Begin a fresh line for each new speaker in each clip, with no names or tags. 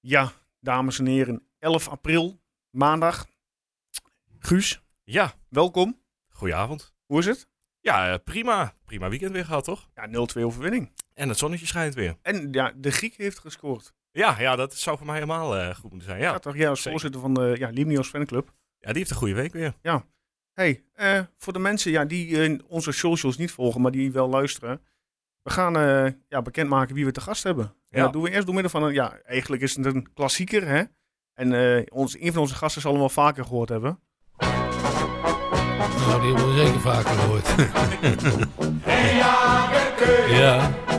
Ja, dames en heren, 11 april, maandag. Guus,
Ja,
welkom.
goedenavond.
Hoe is het?
Ja, eh, prima. Prima weekend weer gehad, toch?
Ja, 0-2 overwinning.
En het zonnetje schijnt weer.
En ja, de Griek heeft gescoord.
Ja, ja dat zou voor mij helemaal eh, goed moeten zijn.
Ja,
Ja.
toch? Jij als
zeker.
voorzitter van de ja, Limnios fanclub.
ja, die heeft een goede week weer.
hey, eh, voor de mensen ja, die eh, onze socials niet volgen, maar die wel luisteren. We gaan eh, ja, bekendmaken wie we te gast hebben. En
Ja.
dat doen we eerst door middel van een, ja, eigenlijk is het een klassieker, hè. En eh, ons, een van onze gasten zal hem wel vaker gehoord hebben.
Nou, die hebben we zeker vaker gehoord.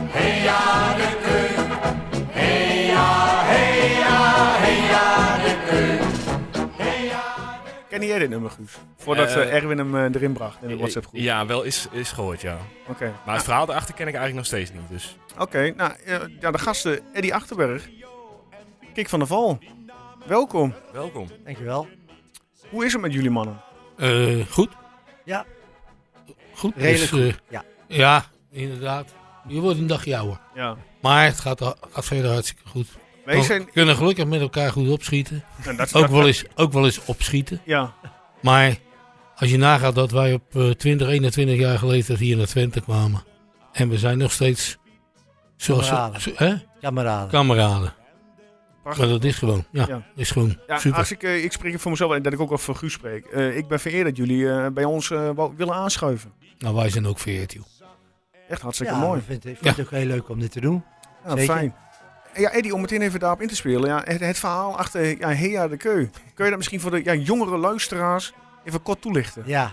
ja.
Ken jij dit nummer, Guus? Voordat
Eh,
eh, Erwin hem eh, erin bracht in de WhatsApp groep.
Ja, wel is, is gehoord, ja.
Oké.
Maar het verhaal daarachter ken ik eigenlijk nog steeds niet. Dus
Oké, nou, eh, ja, de gasten Eddie Achterberg, Kik van der Val, welkom.
welkom.
Dankjewel.
Hoe is het met jullie mannen?
Eh, goed?
Ja.
Goed?
Redelijk
dus, eh,
ja.
Ja, inderdaad. Je wordt een dagje ouder.
Ja.
Maar het gaat, al- gaat verder hartstikke goed.
Wij
We
zijn...
kunnen gelukkig met elkaar goed opschieten.
Nou, dat is-
Oh. Ook wel, eens, ook wel eens opschieten.
Ja,
Maar als je nagaat dat wij op eh, 20, 21 jaar geleden hier naar Twente kwamen. En we zijn nog steeds zoals
Kameraden.
zo- hè?
Kameraden.
kameraden.
Prachtig.
Maar dat is gewoon. Ja,
Ja.
is gewoon
ja
super.
als ik, eh, ik spreek voor mezelf en dat ik ook wel voor Guus spreek. Eh, ik ben vereerd dat jullie eh, bij ons eh, wou- willen aanschuiven.
Nou, wij zijn ook vereerd, joh.
Echt hartstikke
Ja,
mooi.
ik vind, ik vind het ook heel leuk om dit te doen.
Ja,
zeker.
fijn. Ja, Eddie, om meteen even daarop in te spelen. Ja, het, het verhaal achter ja, Hea de Keu. Kun je dat misschien voor de ja, jongere luisteraars even kort toelichten?
Ja.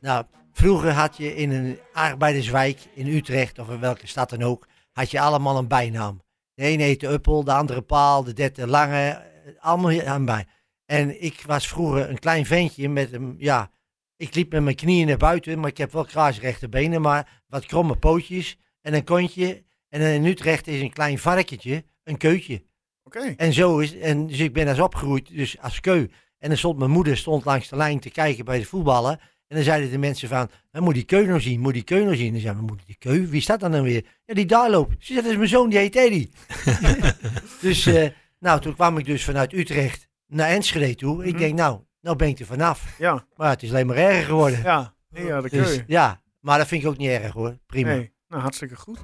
Nou, vroeger had je in een arbeiderswijk in Utrecht of in welke stad dan ook, had je allemaal een bijnaam. De een heette Uppel, de andere Paal, de derde Lange, eh, allemaal he- aan bij. En ik was vroeger een klein ventje met een, ja, ik liep met mijn knieën naar buiten, maar ik heb wel kruisrechte benen, maar wat kromme pootjes en een kontje. En in Utrecht is een klein varkentje, een keutje.
Oké.
En zo is en dus ik ben als opgegroeid, dus als keu. En dan stond mijn moeder stond langs de lijn te kijken bij de voetballen. En dan zeiden de mensen van, "Maar moet die keu nou zien, moet die keu nou zien. En dan zei mijn moeder, die keu, wie staat dan dan weer? Ja, die daar loopt. Ze zei, dat is mijn zoon, die heet Eddy. dus, eh, nou, toen kwam ik dus vanuit Utrecht naar Enschede toe. Ik
Mhm.
denk, nou, nou ben ik er vanaf.
Ja,
Maar het is alleen maar erger geworden.
ja. Hea de Keu.
Dus, ja, maar dat vind ik ook niet erg hoor. Prima.
Nee, nou hartstikke goed.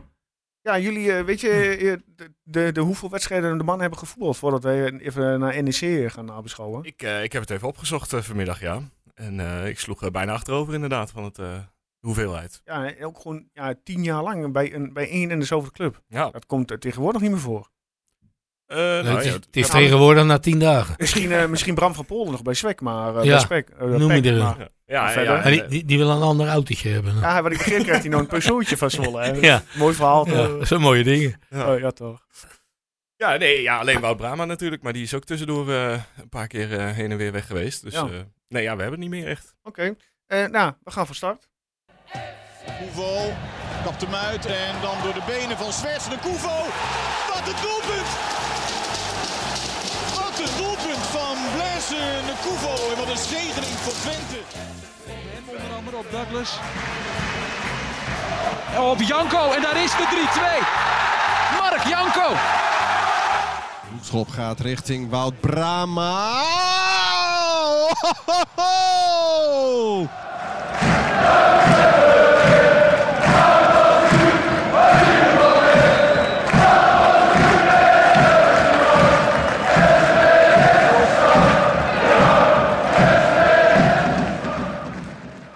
Ja, jullie, eh, weet je, eh, de, de, de hoeveel wedstrijden de mannen hebben gevoetbald voordat wij even naar NEC gaan nabeschouwen?
Ik, eh, ik heb het even opgezocht eh, vanmiddag, ja. En eh, ik sloeg er bijna achterover inderdaad van het, eh, de hoeveelheid.
Ja, en ook gewoon ja, tien jaar lang bij, een, bij één en dezelfde club.
Ja.
Dat komt er tegenwoordig niet meer voor.
Eh,
Nee,
nou,
het is,
ja,
het is
ja.
tegenwoordig na tien dagen.
Misschien, eh, misschien Bram van Polder nog bij Spek, maar eh,
Ja,
bij Spek, eh,
noem
Pek,
je er.
maar-
ja, ja,
Verder.
ja,
En Ah, die,
eh,
die, die wil een ander autootje hebben. nou.
Ja, wat ik begreep krijgt hij nog een persoontje van Zwolle. hè.
Ja.
Mooi verhaal. toch?
Ja, dat zijn mooie dingen.
Ja.
Oh, ja, toch.
ja, nee, ja, alleen Wout Brama natuurlijk. Maar die is ook tussendoor eh, een paar keer eh, heen en weer weg geweest. Dus
Ja.
eh, nee, ja, we hebben het niet meer echt.
Oké, Eh, nou, we gaan van start.
Koevo kapt hem uit en dan door de benen van Zwerts de Koevo. Wat een doelpunt! Wat een doelpunt van Blaise de Koevo en wat een zegening voor Twente.
Hem onder andere op Douglas. Op Janko en daar is de 3-2. Mark Janko.
Schop gaat richting Wout Brama.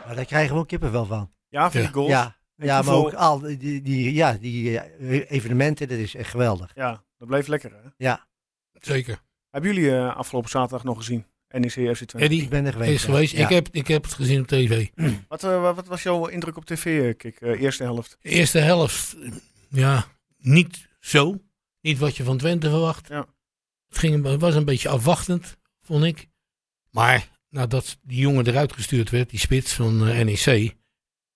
Maar daar krijgen we ook kippenvel van.
Ja, voor
Ja.
die goals.
Ja,
En
ja maar
hoeveel-
ook al die, die, ja, die eh, evenementen, dat is echt geweldig.
Ja, dat blijft lekker, hè?
Ja,
Zeker.
Hebben jullie eh, afgelopen zaterdag nog gezien? E NEC FC 20.
Eddie
ik ben er geweest.
is
ja.
geweest.
Ja.
Ik, eh, heb, ik heb het gezien op tv.
Wat, eh, wa- wat was jouw indruk op tv, eh, Kik? Eh, eerste helft.
Eerste helft, ja, niet zo. Niet wat je van Twente verwacht.
Ja.
Het, ging, een be- was een beetje afwachtend, vond ik. Maar nadat die jongen eruit gestuurd werd, die spits van eh, NEC.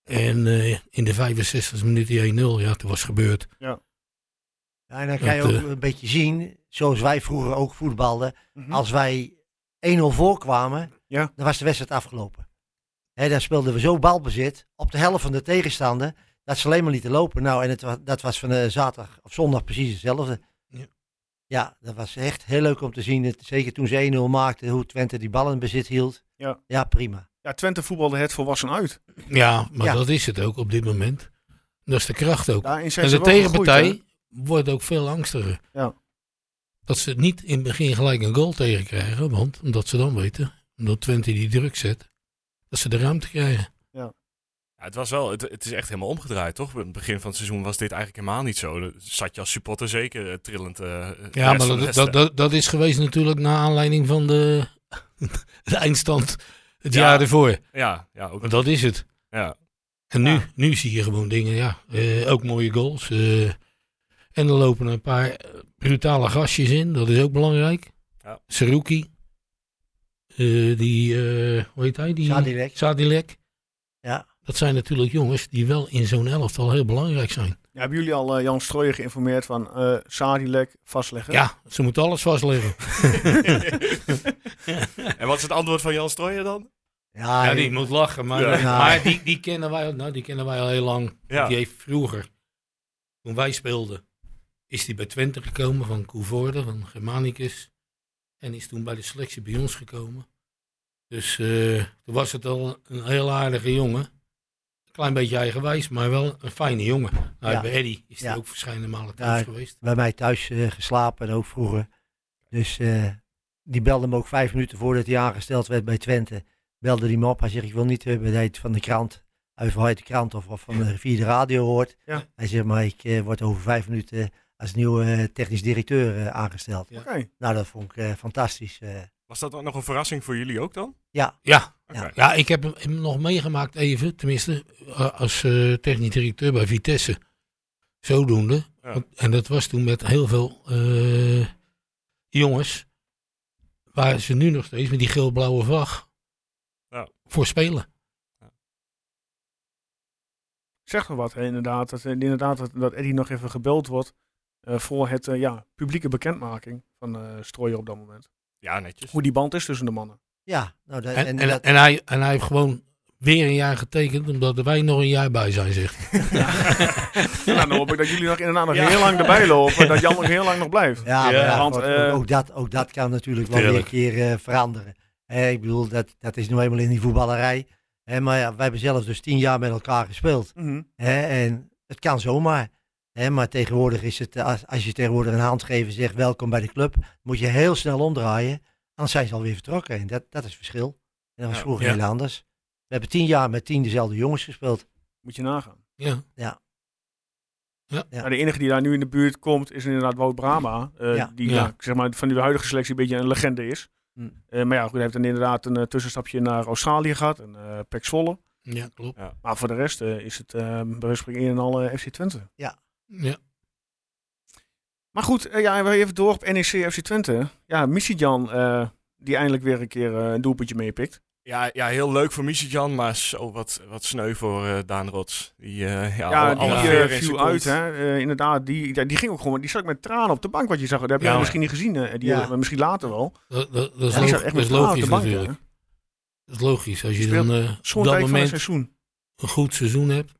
En eh, in de 65 minuut die 1-0, ja, toen was gebeurd.
Ja, en dan kan je
Dat,
ook een beetje zien, zoals wij vroeger ook voetbalden.
Mhm.
Als wij 1-0 voorkwamen,
Ja.
dan was de wedstrijd afgelopen. Hè, dan speelden we zo balbezit op de helft van de tegenstander, dat ze alleen maar lieten lopen. Nou, en het, wa- dat was van eh, zaterdag of zondag precies hetzelfde. Ja, dat was echt heel leuk om te zien. Het- Zeker toen ze 1-0 maakten, hoe Twente die bal in bezit hield.
Ja.
ja prima.
Ja, Twente voetbalde het volwassen uit.
Ja, maar
Ja.
dat is het ook op dit moment. Dat is de kracht ook.
Daarin zijn
en
ze
de
wel gegroeid,
tegenpartij
hè?
wordt ook veel angstiger.
Ja.
Dat ze niet in het begin gelijk een goal tegenkrijgen. Want omdat ze dan weten, omdat Twente die druk zet, dat ze de ruimte krijgen.
Ja, het, was wel, het, het is echt helemaal omgedraaid, toch? In het begin van het seizoen was dit eigenlijk helemaal niet zo. Dan zat je als supporter zeker eh, trillend. eh, de rest
Ja, maar
van de
dat, dat,
wedstrijd.
dat, dat is geweest natuurlijk naar aanleiding van de, de eindstand het
Ja.
jaar ervoor.
Ja, ja, ook,
Maar dat is het.
ja.
En nu,
Ja.
nu zie je gewoon dingen, ja. Eh, ook mooie goals. eh. en er lopen een paar eh, brutale gastjes in. Dat is ook belangrijk.
Ja.
Saruki. Eh, die, eh, hoe heet hij? Die,
Sadilek.
Sadilek.
Ja.
Dat zijn natuurlijk jongens die wel in zo'n elftal heel belangrijk zijn.
Ja, hebben jullie al eh, Jan Strooijen geïnformeerd van eh Sadilek vastleggen?
Ja, ze moeten alles vastleggen.
En wat is het antwoord van Jan Strooijen dan?
Ja,
Ja, die moet lachen. Maar,
Ja.
maar die, die, kennen wij, al- nou, die kennen wij al heel lang.
Ja.
Die heeft vroeger, toen wij speelden, is die bij Twente gekomen van Coevorde, van Germanicus. En is toen bij de selectie bij ons gekomen. Dus eh, toen was het al een heel aardige jongen. Klein beetje eigenwijs, maar wel een fijne jongen. Nou,
Ja.
Bij Eddie is hij
Ja.
ook verschillende malen
Ja.
thuis geweest.
bij mij thuis eh, geslapen en ook vroeger. Dus eh, die belde me ook vijf minuten voordat hij aangesteld werd bij Twente. Belde hij me op. Hij zegt, ik wil niet hebben dat je het van de krant, of uit de krant of, of van de, via de radio hoort.
Ja.
Hij zegt, maar ik eh, word over vijf minuten als nieuwe eh, technisch directeur eh, aangesteld.
Ja.
Oké.
Nou, dat vond ik eh, fantastisch. eh.
Was dat ook nog een verrassing voor jullie ook dan?
Ja,
Oké.
Ja.
Ja, ik heb hem, hem nog meegemaakt even, tenminste, eh, als eh, technisch directeur bij Vitesse. Zodoende.
Ja.
Want- En dat was toen met heel veel eh, jongens, waar ze nu nog steeds met die geel-blauwe vlag
Ja.
voor spelen.
Zeg maar wat, hè, inderdaad. Dat, eh, inderdaad dat, dat Eddie nog even gebeld wordt eh, voor het eh, ja, publieke bekendmaking van eh Strooijen op dat moment.
Ja, netjes.
Hoe die band is tussen de mannen.
ja, nou, dat,
En, en, en,
dat-
hij, en hij heeft gewoon weer een jaar getekend, omdat wij nog een jaar bij zijn, zegt hij.
nou, dan hoop ik dat jullie nog inderdaad nog
Ja.
heel lang erbij lopen. en Dat Jan nog heel lang nog blijft.
Ja, maar ja,
want,
goed,
eh,
ook, dat, ook dat kan natuurlijk wel weer een
Tuurlijk.
keer eh, veranderen. Hè, ik bedoel, dat, dat is nu eenmaal in die voetballerij. Hè, maar ja, wij hebben zelf dus tien jaar met elkaar gespeeld.
Mhm.
Hè, en het kan zomaar. Hè, maar tegenwoordig is het, eh, als, als je tegenwoordig een hand geeft en zegt welkom bij de club, moet je heel snel omdraaien. Anders zijn ze alweer vertrokken. En dat, dat is het verschil. En dat was
Ja,
vroeger
ja.
heel anders. We hebben tien jaar met tien dezelfde jongens gespeeld.
Moet je nagaan.
Ja.
Ja.
Nou, de enige die daar nu in de buurt komt is inderdaad Wout Brama. eh,
Ja.
Die
Ja.
ja, zeg maar, van de huidige selectie een beetje een legende is.
Hm.
Eh, maar ja, goed, hij heeft dan inderdaad een eh, tussenstapje naar Australië gehad. En eh Pek Zwolle.
ja, klopt.
Maar voor de rest eh, is het eh, bij wijze van spreken een en al eh, FC Twente.
Ja.
Maar goed, eh, ja, we even door op NEC FC Twente. Ja, Michijan eh die eindelijk weer een keer eh, een doelpuntje meepikt.
Ja, ja, heel leuk voor Michijan, maar zo wat, wat sneu voor eh, Daan Rots. Die, eh, ja,
Ja,
alle-
die
alle
eh,
veer in zijn
viel
kont.
uit. Hè. Eh, inderdaad, die, ja, die ging ook gewoon. Die zat met tranen op de bank, wat je zag. Dat heb jij
Ja.
misschien niet gezien. eh, die,
Ja.
maar misschien later wel.
Dat, dat, dat is,
Ja, die
lo-
zat echt
dat
met
is
tranen op
logisch
de bank.
natuurlijk.
hè.
Dat is logisch. Als je
Speelt
dan eh,
Zo'n
op dat
tijd van het
moment
seizoen.
een goed seizoen hebt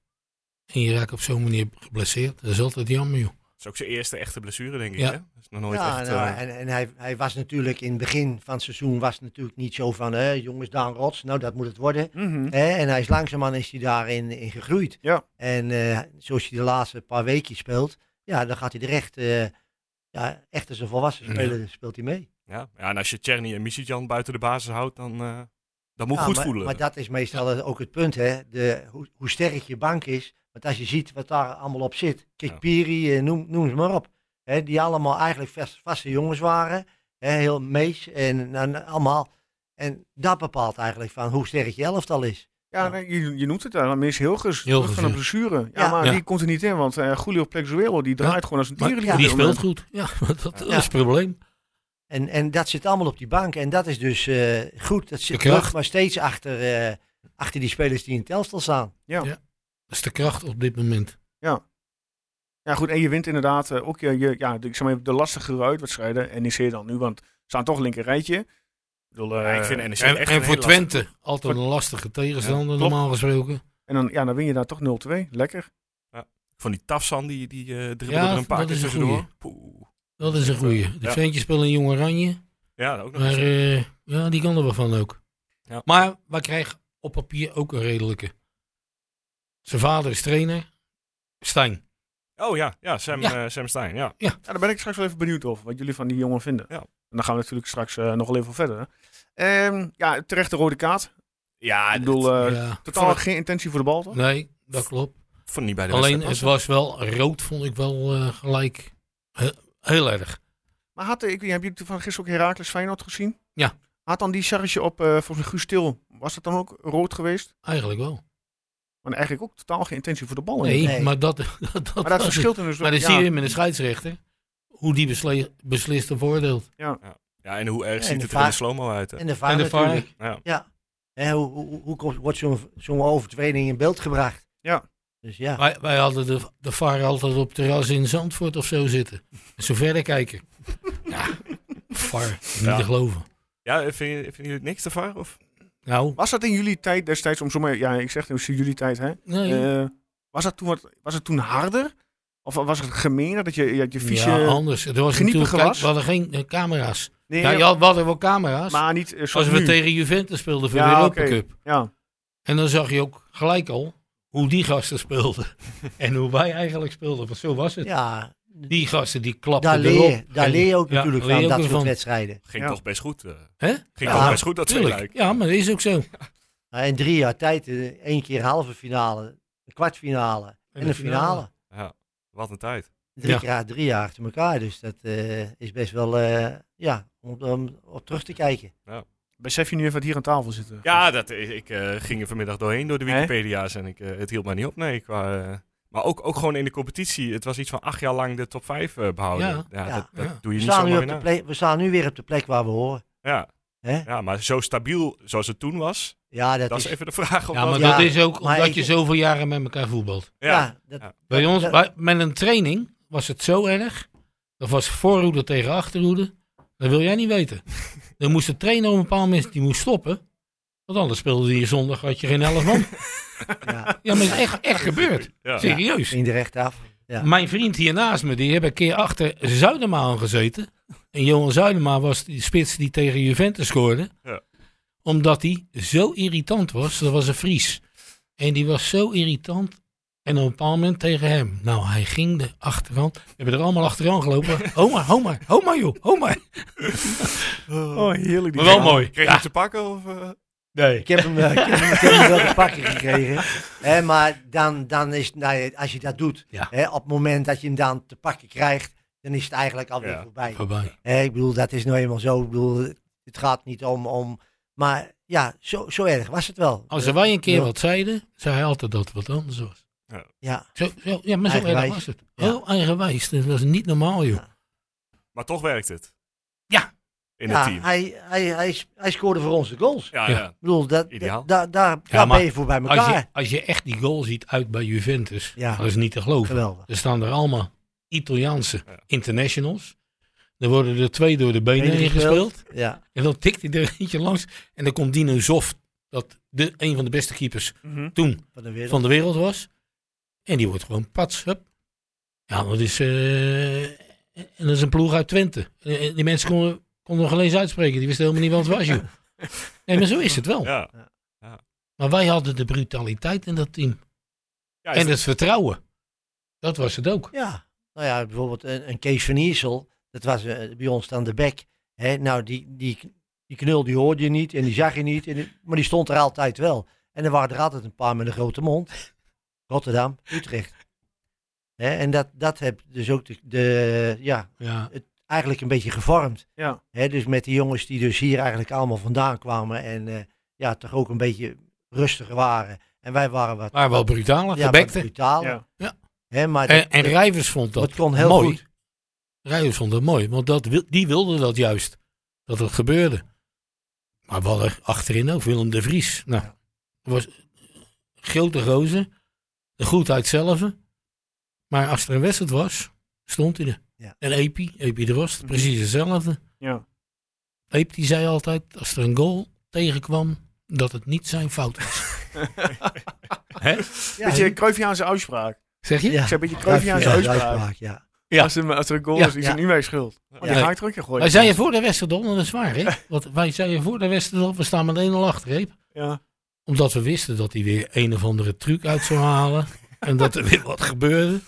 en je raakt op zo'n manier geblesseerd, dat is altijd jammer, joh.
Dat is ook zijn eerste echte blessure, denk ik.
Ja.
Hè? Dat is nog nooit
Ja,
echt...
nou,
eh,
en, en hij, hij was natuurlijk in het begin van het seizoen was het natuurlijk niet zo van, hè, jongens, Daan Rots, nou dat moet het worden.
Mhm.
Hè, en hij is langzaamaan is hij daarin in gegroeid.
Ja.
En eh, zoals hij de laatste paar weken speelt, ja, dan gaat hij er echt, eh, ja, echt als een volwassen
Ja.
speler speelt hij mee.
ja. ja, en als je Tjerni en Michijan buiten de basis houdt, dan eh, dat moet
Ja,
goed
maar,
voelen.
Maar dat is meestal het- ook het punt, hè, de, hoe, hoe sterk je bank is. Want als je ziet wat daar allemaal op zit, Kikpiri, eh, noem, noem ze maar op. Hè, die allemaal eigenlijk vast, vaste jongens waren. Hè, heel mees en, en allemaal. En dat bepaalt eigenlijk van hoe sterk je elftal is.
Ja, nee, je, je noemt het daar. Mees Hilgers. terug
Hilgers,
van een
ja.
blessure. Ja,
Ja.
maar
Ja.
die komt er niet in. Want eh Julio Plexuelo die draait
Ja.
gewoon als een
Maar
tieren.
die
op dit
speelt
moment.
goed. Ja, dat, dat
Ja.
is het probleem.
En, en dat zit allemaal op die bank. En dat is dus eh, goed. Dat zit
kracht.
terug, maar steeds achter, eh, achter die spelers die in het elftal staan.
Dat is de kracht op dit moment.
Ja, goed. En je wint inderdaad eh, ook je, je, ja, de, ik zeg maar, de lastigere uitwedstrijden. En NEC dan nu. Want ze staan toch linker rijtje. Ik, bedoel,
Ja,
eh,
ik vind NEC
En,
echt
en
een
voor
hele
Twente altijd een lastige tegenstander,
klopt.
normaal gesproken.
En dan, ja, dan win je daar toch 0-2. Lekker.
Van die Tafsan, die, die eh dribbelde
Ja,
er een paar
dat
keer
is een
tussendoor.
goeie.
Poeh.
Dat is een goeie. De
Ja.
ventje spelen in Jong Oranje.
Ja, ook nog
Maar
eens.
eh, ja, die kan er wel van ook.
Ja.
Maar wij krijgen op papier ook een redelijke. Zijn vader is trainer. Stijn.
Oh ja, ja, Sam,
Ja.
eh, Sam Stein. Ja.
Ja, daar ben ik straks wel even benieuwd over, wat jullie van die jongen vinden.
Ja.
En dan gaan we natuurlijk straks eh, nog wel even verder. Ehm, ja, terecht de rode kaart.
Ah, ja,
ik bedoel, eh,
ja.
totaal geen intentie voor de bal, toch?
Nee, dat klopt.
ik vond het niet bij de
Alleen het
wedstrijd
was wel rood, vond ik wel eh, gelijk. He- heel erg.
Maar had, eh, ik, weet niet, heb je van gisteren ook Heracles Feyenoord gezien?
Ja.
Had dan die charge op, eh volgens mij Guus Til, was dat dan ook rood geweest?
Eigenlijk wel.
Maar eigenlijk ook totaal geen intentie voor de bal.
Nee,
Nee.
maar dat, dat, dat,
Maar dat
was het.
verschilt er dus
Maar dan
ja.
zie je met een scheidsrechter hoe die besle- beslist of oordeelt.
was. Ja, en hoe erg
En
ziet
de
het er
vaar-
in de slow-mo uit? hè?
En de VAR
En de
natuurlijk.
VAR,
Ja.
Hè, hoe, hoe, hoe komt- wordt zo'n zo'n overtreding in beeld gebracht?
Ja.
Dus ja.
wij, wij hadden de, de VAR altijd op terras in Zandvoort of zo zitten. En zo verder kijken. ja, VAR, niet
Ja.
te geloven.
ja, vind je- vinden jullie het niks te var? Of?
Nou,
Was dat in jullie tijd destijds, om zomaar, ja, ik zeg het in jullie tijd, hè?
nee.
Eh, was, dat toen wat, was het toen harder? Of was het gemener dat je dat je vieze...
ja, anders. Er was
geniepige
natuurlijk, kijk,
was.
we hadden geen eh, camera's.
nee,
ja, ja, we hadden wel camera's.
maar niet eh, zoals
als we
nu.
tegen Juventus speelden voor
Ja,
de Europa
oké.
Cup.
Ja,
En dan zag je ook gelijk al hoe die gasten speelden. en hoe wij eigenlijk speelden. Want zo was het.
ja.
Die gasten die klapten
Daar leer, je-
erop.
daar
En-
leer je ook
ja,
natuurlijk
leer je
van,
ook
dat
weer
soort
van.
wedstrijden.
Ging
Ja.
toch best goed? eh?
Hè?
ging
Ja,
toch best goed, dat
Tuurlijk.
tweelijk.
Ja, maar dat is ook zo.
Nou, In drie jaar tijd, eh, één keer halve finale, een kwartfinale en,
de
een finale.
finale.
Ja, wat een tijd.
Drie,
Ja.
keer, drie jaar achter elkaar, dus dat eh, is best wel, eh, ja, om, om op terug te kijken.
besef je nu even wat hier aan tafel zitten?
Ja, dat, ik eh, ging er vanmiddag doorheen door de
Hè?
Wikipedia's en ik, eh, het hield mij niet op. Nee, qua, eh, maar ook, ook gewoon in de competitie. Het was iets van acht jaar lang de top vijf eh, behouden.
Ja.
Ja,
Ja.
Dat, dat
Ja.
doe
We
je niet
staan, nu
zomaar
op de
in.
plek, we staan nu weer op de plek waar we horen.
Ja.
Hè?
ja, maar zo stabiel zoals het toen was,
Ja, dat,
dat
is,
is even de vraag. Of
Ja, maar
dat,
Ja,
dat is ook
maar
omdat
ik-
je zoveel jaren met elkaar voetbalt.
ja,
ja.
dat,
Ja.
Bij ons,
dat-
bij- met een training was het zo erg. Dat was voorhoede tegen achterhoede. Dat wil jij niet weten. Dan moest de trainer op een bepaald moment die moest stoppen. Want anders speelde je zondag, had je geen elf man.
ja,
Ja, maar het is echt, echt gebeurd.
Ja.
Serieus.
ging er recht af. Ja.
Mijn vriend hier naast me, die heb een keer achter Zuidema aangezeten. En Johan Zuidema was die spits die tegen Juventus scoorde.
Ja.
Omdat hij zo irritant was. Dat was een Fries. En die was zo irritant. En op een bepaald moment tegen hem. Nou, hij ging de achterhand. We hebben er allemaal achteraan gelopen. Homa, homa, homa joh, homa.
Oh, heerlijk. die
Maar wel
verhaal.
mooi.
Kreeg je
Ja,
het te pakken? Of, eh?
nee.
Ik heb hem, eh, ik heb hem, ik heb hem wel te pakken gekregen. Hè, maar dan, dan is, nou, ja, als je dat doet,
Ja.
hè, op het moment dat je hem dan te pakken krijgt, dan is het eigenlijk alweer
Ja.
voorbij.
Voorbij.
Hè, ik bedoel, dat is nou eenmaal zo. Ik bedoel, het gaat niet om, om maar ja, zo, zo erg was het wel.
Als
Eh,
wij een keer
ja.
wat zeiden, zei hij altijd dat het wat anders was.
Ja,
Zo, zo, ja, maar zo erg
Eigenwijs.
was het.
Ja.
Heel eigenwijs. Dat was niet normaal, joh.
Ja.
Maar toch werkt het.
Ja.
In
ja
het team.
hij, hij, hij, s- hij scoorde voor ons de goals.
Ja,
Ja.
ja.
Ik bedoel, dat,
Ideaal.
da- daar, daar
maar
ben je voor bij
Als
elkaar.
je, als je echt die goal ziet uit bij Juventus,
Ja.
dat is niet te geloven.
Geweldig.
Er staan er allemaal Italiaanse
Ja.
internationals. Er worden er twee door de benen
Benen
heen gespeeld.
Ja,
En dan tikt hij er eentje langs. En dan komt Dino Zoft, dat de, een van de beste keepers
Mhm.
toen
van de wereld.
van de wereld was. En die wordt gewoon pats. Hup. Ja, dat is, eh, en dat is een ploeg uit Twente. En- en die mensen konden, konden nog alleen eens uitspreken. Die wisten helemaal niet wat het was, joh. Nee, maar zo is het wel.
ja.
Maar wij hadden de brutaliteit in dat team.
Ja, is
En
het-
het vertrouwen. Dat was het ook.
Ja, nou ja, bijvoorbeeld een, een Kees van Iersel, dat was eh, bij ons aan de bek. Hè? Nou, die, die, die knul die hoorde je niet en die zag je niet, en die- maar die stond er altijd wel. En er waren er altijd een paar met een grote mond. Rotterdam, Utrecht. Hè? En dat, dat heb dus ook de, de, ja,
Ja.
eigenlijk een beetje gevormd.
Ja.
Hè? Dus met die jongens die dus hier eigenlijk allemaal vandaan kwamen en eh, ja, toch ook een beetje rustiger waren. En wij waren wat,
Maar wel brutaler,
ja, wat
gebekte.
brutaler.
Ja.
Ja.
Hè? Maar
En,
dat-
en
dat-
Rijvers vond dat,
dat kon heel
mooi.
goed.
Rijvers vond dat mooi, want dat, wil- die wilde dat juist. Dat het gebeurde. Maar we hadden achterin ook Willem de Vries. Nou, was grote gozer. De goedheid zelf. Maar als er een wedstrijd was, stond hij er.
Ja.
En Epi, Epi de Rost,
Mhm.
precies hetzelfde.
Ja.
Eep die zei altijd, als er een goal tegenkwam, dat het niet zijn fout was. Hè?
Ja,
Beetje Cruyffiaanse uitspraak.
Zeg je?
Ik zei een beetje Cruyffiaanse uitspraak.
ja.
Ja.
Als, er, als er een goal
Ja,
is, is
ja.
het niet mijn schuld. Maar die
Nee.
ga ik er ook in gooien.
Wij zeiden voor de Westerdorp, dat is waar, hè? Want wij zeiden voor de Westerdorp, we staan met 1-0 achter, hè?
Ja.
Omdat we wisten dat hij weer een of andere truc uit zou halen. en dat er weer wat gebeurde.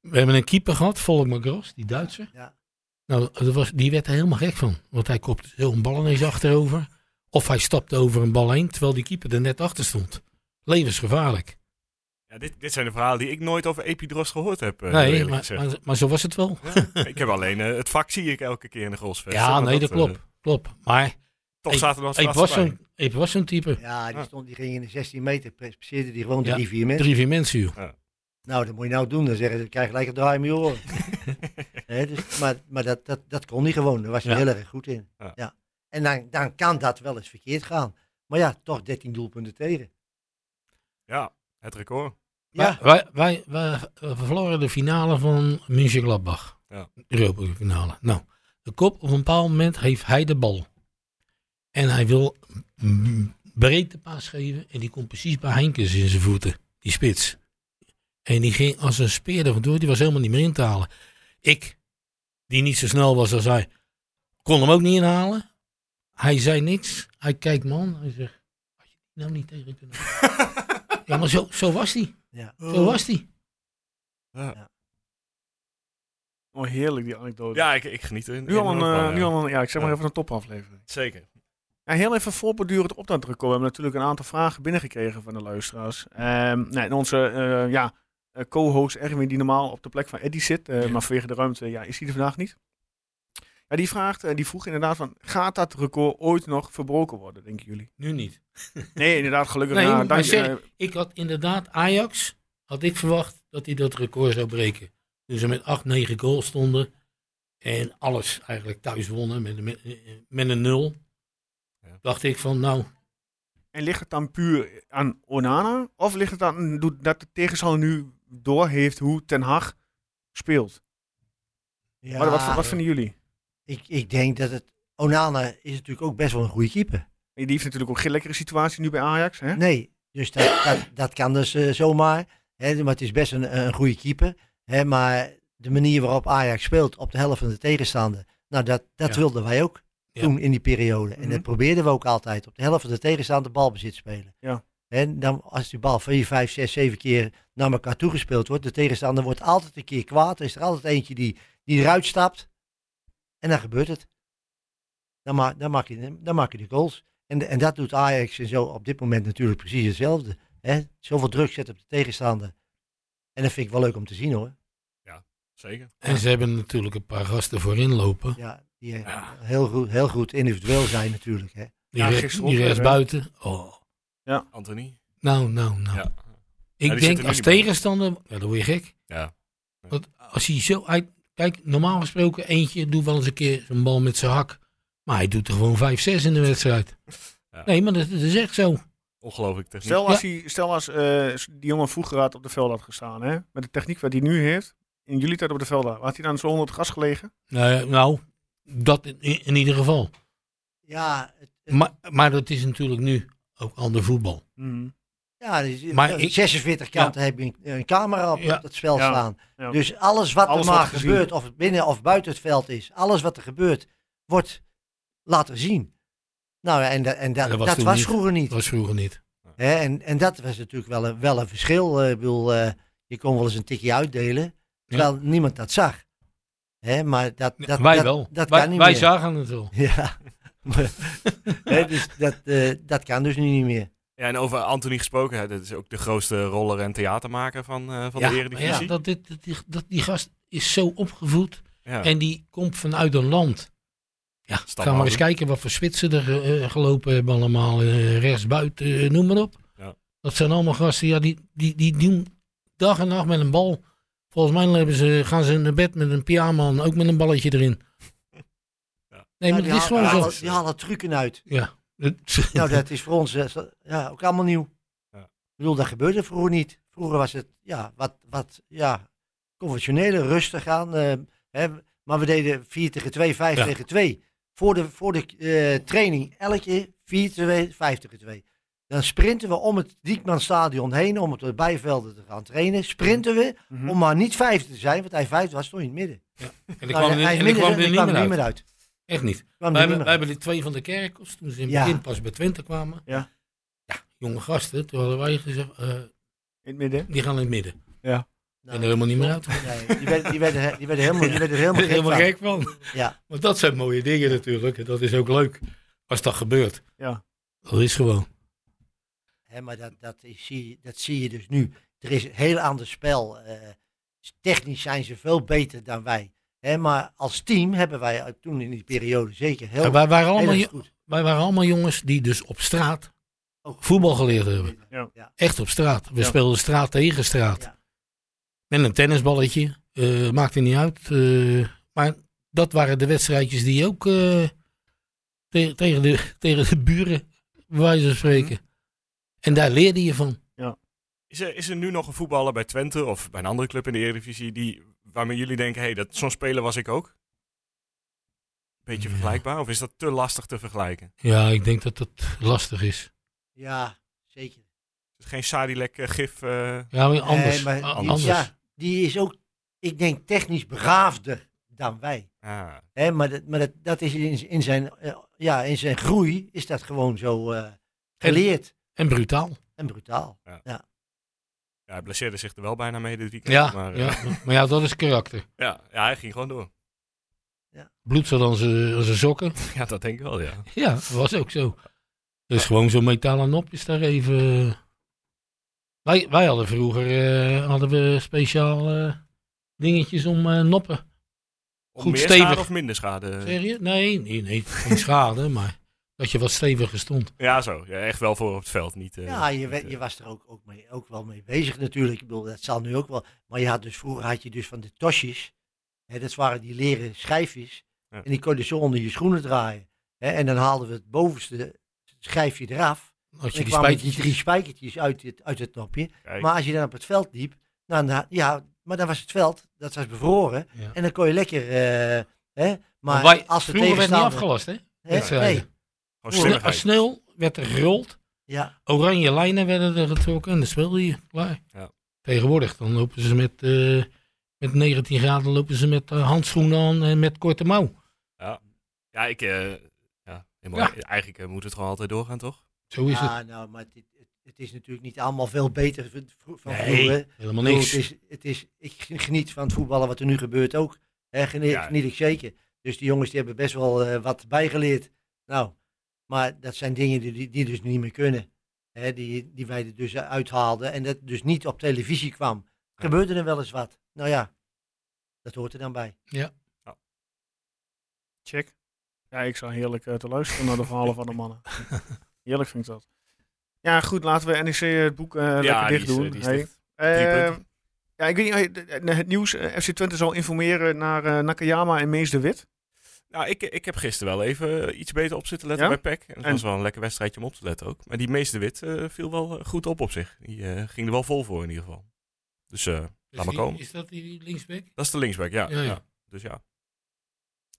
We hebben een keeper gehad, Volkmar Gros, die Duitser.
Ja.
Nou, dat was, die werd er helemaal gek van. Want hij kopte zo'n bal ineens achterover. Of hij stapte over een bal heen, terwijl die keeper er net achter stond. Levensgevaarlijk.
Ja, dit, dit zijn de verhalen die ik nooit over Epidros gehoord heb. eh, heel
nee,
eerlijk
maar,
gezegd.
maar, maar zo was het wel.
Ja, ik heb alleen eh, het vak zie ik elke keer in de goalsfest.
Ja,
Maar
nee, dat
eh,
klopt. Klopt. Maar
toch
Ik-
zaten we als
ik was,
laatste bij.
zo'n, ik was zo'n type.
Ja, die,
Ja.
stond, die ging in de 16 meter, pres- passeerde die gewoon de
Ja,
drie, vier mensen.
Drie, vier mensen, joh.
Nou, dat moet je nou doen. Dan zeggen ze, dan krijg je gelijk een draai om je oren. Hè, dus, maar maar dat, dat, dat kon hij gewoon. Daar was hij
Ja.
heel erg goed in.
Ja.
Ja. En dan, dan kan dat wel eens verkeerd gaan. Maar ja, toch 13 doelpunten tegen.
Ja, het record.
Ja,
Maar Wij, wij, wij eh, verloren de finale van München-Gladbach.
Ja.
De Europa League finale. Nou, de kop op een bepaald moment heeft hij de bal. En hij wil mm, breed de paas geven. En die komt precies bij Heinkens in zijn voeten. Die spits. En die ging als een speer er vandoor. Die was helemaal niet meer in te halen. Ik, die niet zo snel was als hij, kon hem ook niet inhalen. Hij zei niks. Hij kijkt man, Hij zegt, had je die nou niet tegen kunnen houden?" Ja, maar zo, zo was hij.
ja.
Zo was die.
Oh, heerlijk die anekdote.
Ja, ik, ik geniet er.
nu, al een,
enorm
eh,
van, ja.
nu al een, ja, ik zeg maar
Ja.
even een topaflevering.
Zeker.
Ja, heel even voortbordurend op dat record. We hebben natuurlijk een aantal vragen binnengekregen van de luisteraars. Ehm nee, en onze eh, ja, eh, co-host Erwin, die normaal op de plek van Eddie zit, eh, maar vanwege de ruimte ja, is hij er vandaag niet. Ja, die, vraagt, eh, die vroeg inderdaad van, gaat dat record ooit nog verbroken worden, denken jullie?
Nu niet.
Nee, inderdaad, gelukkig.
Nee,
na,
maar
dank-
zeg-
eh,
Ik had inderdaad Ajax, had ik verwacht dat hij dat record zou breken. Toen ze met 8, 9 goals stonden en alles eigenlijk thuis wonnen met, met, met een nul.
Ja.
Dacht ik van nou,
en ligt het dan puur aan Onana? Of ligt het aan doet- dat de tegenstander nu door heeft hoe Ten Hag speelt?
Ja,
wat, wat, wat vinden jullie?
ik, ik denk dat het... Onana is natuurlijk ook best wel een goede keeper.
Die heeft natuurlijk ook geen lekkere situatie nu bij Ajax. Hè?
Nee, dus dat, dat, dat kan dus eh, zomaar. Hè, maar het is best een, een goede keeper. Hè, maar de manier waarop Ajax speelt op de helft van de tegenstander. Nou, dat, dat
Ja.
wilden wij ook
Ja.
toen in die periode. En
Mhm.
dat probeerden we ook altijd. Op de helft van de tegenstander balbezit spelen.
Ja.
En dan, als die bal 4, 5, 6, 7 keer naar elkaar toegespeeld wordt. De tegenstander wordt altijd een keer kwaad. Er is er altijd eentje die, die eruit stapt. En dan gebeurt het. Dan, ma dan, maak, je, dan maak je de goals. En, de- en dat doet Ajax en zo op dit moment natuurlijk precies hetzelfde. Hè? Zoveel druk zet op de tegenstander. En dat vind ik wel leuk om te zien hoor.
Zeker.
en ze hebben natuurlijk een paar gasten voorin lopen.
Ja, die eh,
Ja.
Heel, goed, heel goed individueel zijn natuurlijk. Hè?
Die,
Ja,
re-
gisteren
die
ook weer,
rechts
hè?
buiten. Oh,
Anthony.
nou, nou, nou.
Ja.
Ik
die zitten
denk
er
als
niet bij.
tegenstander, ja, dan word je gek.
Ja.
Want als hij zo uit. Kijk, normaal gesproken, eentje doet wel eens een keer een bal met zijn hak. Maar hij doet er gewoon 5-6 in de wedstrijd.
Ja.
Nee, maar dat, dat is echt zo.
Ongelooflijk techniek.
Stel als, hij, stel als eh, die jongen vroeger had op de veld had gestaan, hè? met de techniek wat hij nu heeft, in jullie tijd op de veld, had hij dan zo onder het gas gelegen?
Nou, nou dat in, in ieder geval.
Ja, het- het-
Maar, maar dat is natuurlijk nu ook ander voetbal.
Mm.
ja dus, eh,
maar ik-
46 kanten heb je een, een camera op
Ja.
dat spel
Ja.
staan.
Ja.
Dus alles wat
Alles
er maar
wordt gezien.
gebeurt, of het binnen of buiten het veld is, alles wat er gebeurt, wordt laten zien. Nou, en, da- en da-
Dat was
dat
toen
was
niet.
vroeger niet.
Dat was vroeger niet.
Hè, en, en dat was natuurlijk wel een, wel een verschil. Eh, Ik bedoel, eh, je kon wel eens een tikje uitdelen, terwijl niemand dat zag. Hè, maar dat, dat,
wij
dat,
wel.
dat
wij
kan niet
wij
meer.
zagen het wel.
Ja. Maar- Hè, dus dat, eh, dat kan dus nu niet meer.
Ja, en over Anthony gesproken, hè, dat is ook de grootste roller en theatermaker van, eh, van
ja,
de
maar ja
Eredivisie.
dat, dit- dat, die- dat, die gast is zo opgevoed.
Ja.
En die komt vanuit een land. Ja,
Stamboom.
gaan we eens kijken wat voor Zwitser er eh, gelopen hebben allemaal. eh, rechtsbuiten, eh, noem maar op.
Ja.
Dat zijn allemaal gasten, ja, die, die, die doen dag en nacht met een bal. Volgens mij hebben ze, gaan ze naar bed met een pyjama aan, ook met een balletje erin.
Ja.
Nee, maar
Ja, Nou, die,
het is
halen-
gewoon zo.
halen- die halen trucken uit.
Ja.
Nou, dat is voor ons eh, zo- ja, ook allemaal nieuw.
Ja.
Ik bedoel, dat gebeurde vroeger niet. Vroeger was het ja, wat, wat ja, conventionele, rustig aan. eh, hè, maar we deden 4 tegen 2, 5
Ja.
tegen 2. Voor de, voor de eh, training elke keer 4 tegen 2, 5 tegen 2. Dan sprinten we om het Diekmanstadion heen, om op de bijvelden te gaan trainen. Sprinten we,
Hm?
Mhm.
om maar niet vijfde te zijn, want hij vijfde was, stond in het midden.
En ik
Nou,
kwam er,
hij
en ik
is midden,
kwam er
hè, die
niet
kwam
meer
er
uit.
niet meer uit.
Echt niet.
Kwam er
Wij
niet
hebben,
meer
wij
uit.
hebben die twee van de kerkers, toen ze in het
Ja.
begin pas bij Twente kwamen.
Ja.
Ja, jonge gasten, toen hadden wij gezegd, eh,
In het midden.
die gaan in het midden.
Nou,
en er helemaal niet meer uit.
Nee, die werden, die werden, he- die werden helemaal, die werden er helemaal gek
helemaal
van.
gek van.
Ja.
Want dat zijn mooie dingen natuurlijk. En dat is ook leuk als dat gebeurt.
Ja.
Dat is gewoon.
Hè, maar dat, dat, is, zie, je- dat zie je dus nu. Er is een heel ander spel. eh, technisch zijn ze veel beter dan wij. Hè, maar als team hebben wij uit- toen in die periode zeker heel,
En wij, waren
heel
allemaal,
erg
jo-
goed.
wij waren allemaal jongens die dus op straat
Ook.
voetbal geleerd hebben.
Ja.
Ja.
Echt op straat. We
Ja.
speelden straat tegen straat.
Ja.
Met een tennisballetje. eh maakte niet uit. eh, maar dat waren de wedstrijdjes die ook eh, te- tegen, de, tegen de buren, bij wijze
Mhm.
van spreken. En daar leerde je van.
Is er, is er nu nog een voetballer bij Twente of bij een andere club in de Eredivisie die, waarmee jullie denken, hé, dat zo'n speler was ik ook? Beetje
Ja.
vergelijkbaar? Of is dat te lastig te vergelijken?
Ja, ik denk dat dat lastig is.
Ja, zeker.
Is het geen eh, Sadilek-gif?
Ja, maar anders.
Nee, maar
A-
die,
anders.
Ja, die is ook, ik denk, technisch begaafder dan wij.
ah,
Hè, maar dat, maar dat, dat is in, in, zijn, eh, ja, in zijn groei is dat gewoon zo eh, geleerd
En brutaal.
en brutaal.
ja, hij blesseerde zich er wel bijna mee dit weekend.
Ja,
maar, eh,
ja. maar ja, dat is karakter.
ja, ja, hij ging gewoon door.
Bloed zat aan zijn aan zijn sokken.
Ja, dat denk ik wel, ja.
Ja, dat was ook zo. Dus gewoon zo'n metalen nopjes daar even. eh. Wij, wij hadden vroeger eh, hadden we speciaal eh, dingetjes om eh, noppen.
Om
Goed
meer
stevig.
schade of minder schade?
Serieus? Nee, nee, nee, geen schade, maar dat je wat steviger stond.
Ja, zo. Ja, echt wel voor op het veld. Niet, eh,
Ja, je,
niet,
we-
eh,
je was er ook, ook, mee, ook wel mee bezig natuurlijk. Ik bedoel, dat zal nu ook wel. Maar je had dus, vroeger had je dus van de tosjes. Hè, dat waren die leren schijfjes.
Ja.
En die kon je zo onder je schoenen draaien. Hè, en dan haalden we het bovenste schijfje eraf.
Als
En
je die
dan kwamen die
spijtjes.
drie spijkertjes uit het, uit het nopje.
kijk.
Maar als je dan op het veld liep, dan, dan- ja, maar dan was het veld, dat was bevroren.
Ja.
En dan kon je lekker, eh, hè, maar,
Maar wij-
als de
vroeger werd niet
tegenstander...
afgelast, hè?
hè,
wedstrijden.
nee,
Gewoon
Sne-
slimmigheid.
Als sneeuw werd er gerold,
ja,
oranje lijnen werden er getrokken en dan speelde je klaar.
Ja.
Tegenwoordig dan lopen ze met, eh, met 19 graden lopen ze met eh, handschoenen aan en met korte mouw.
Ja, ik... eh, ja, helemaal, Eigenlijk eh, moet het gewoon altijd doorgaan, toch?
Zo is het.
ja, nou, maar het, het, het is natuurlijk niet allemaal veel beter van, van
Nee,
vroeger.
Helemaal
Ik bedoel,
niks.
Het is, het is, ik geniet van het voetballen wat er nu gebeurt ook. Hè, geniet,
Ja.
geniet ik zeker. Dus die jongens die hebben best wel eh, wat bijgeleerd. Nou, maar dat zijn dingen die- die, die dus niet meer kunnen. Hè, die, die wij er dus uithaalden en dat dus niet op televisie kwam. Gebeurde er wel eens wat. Nou ja, dat hoort er dan bij.
Check. Ja, ik zou heerlijk eh, te luisteren naar de verhalen van de mannen. Heerlijk vind ik dat. Ja, goed, laten we NEC het boek eh, lekker
die
dicht
is, eh,
doen.
die is
Hey.
dicht.
Eh,
Drie punten.
ja, ik weet niet, eh, de- de- het nieuws, eh, FC Twente zal informeren naar eh, Nakayama en Mees de Wit.
Nou, ik, ik heb gisteren wel even eh, iets beter op zitten letten
Ja?
bij PEC. En het
En-
was wel een lekker wedstrijdje om op te letten ook. Maar die meeste wit eh, viel wel eh, goed op op zich. Die eh, ging er wel vol voor in ieder geval. Dus eh, laat maar
die-
komen.
Is dat die linksback?
dat is de linksback, ja.
Ja,
ja,
ja.
Dus ja.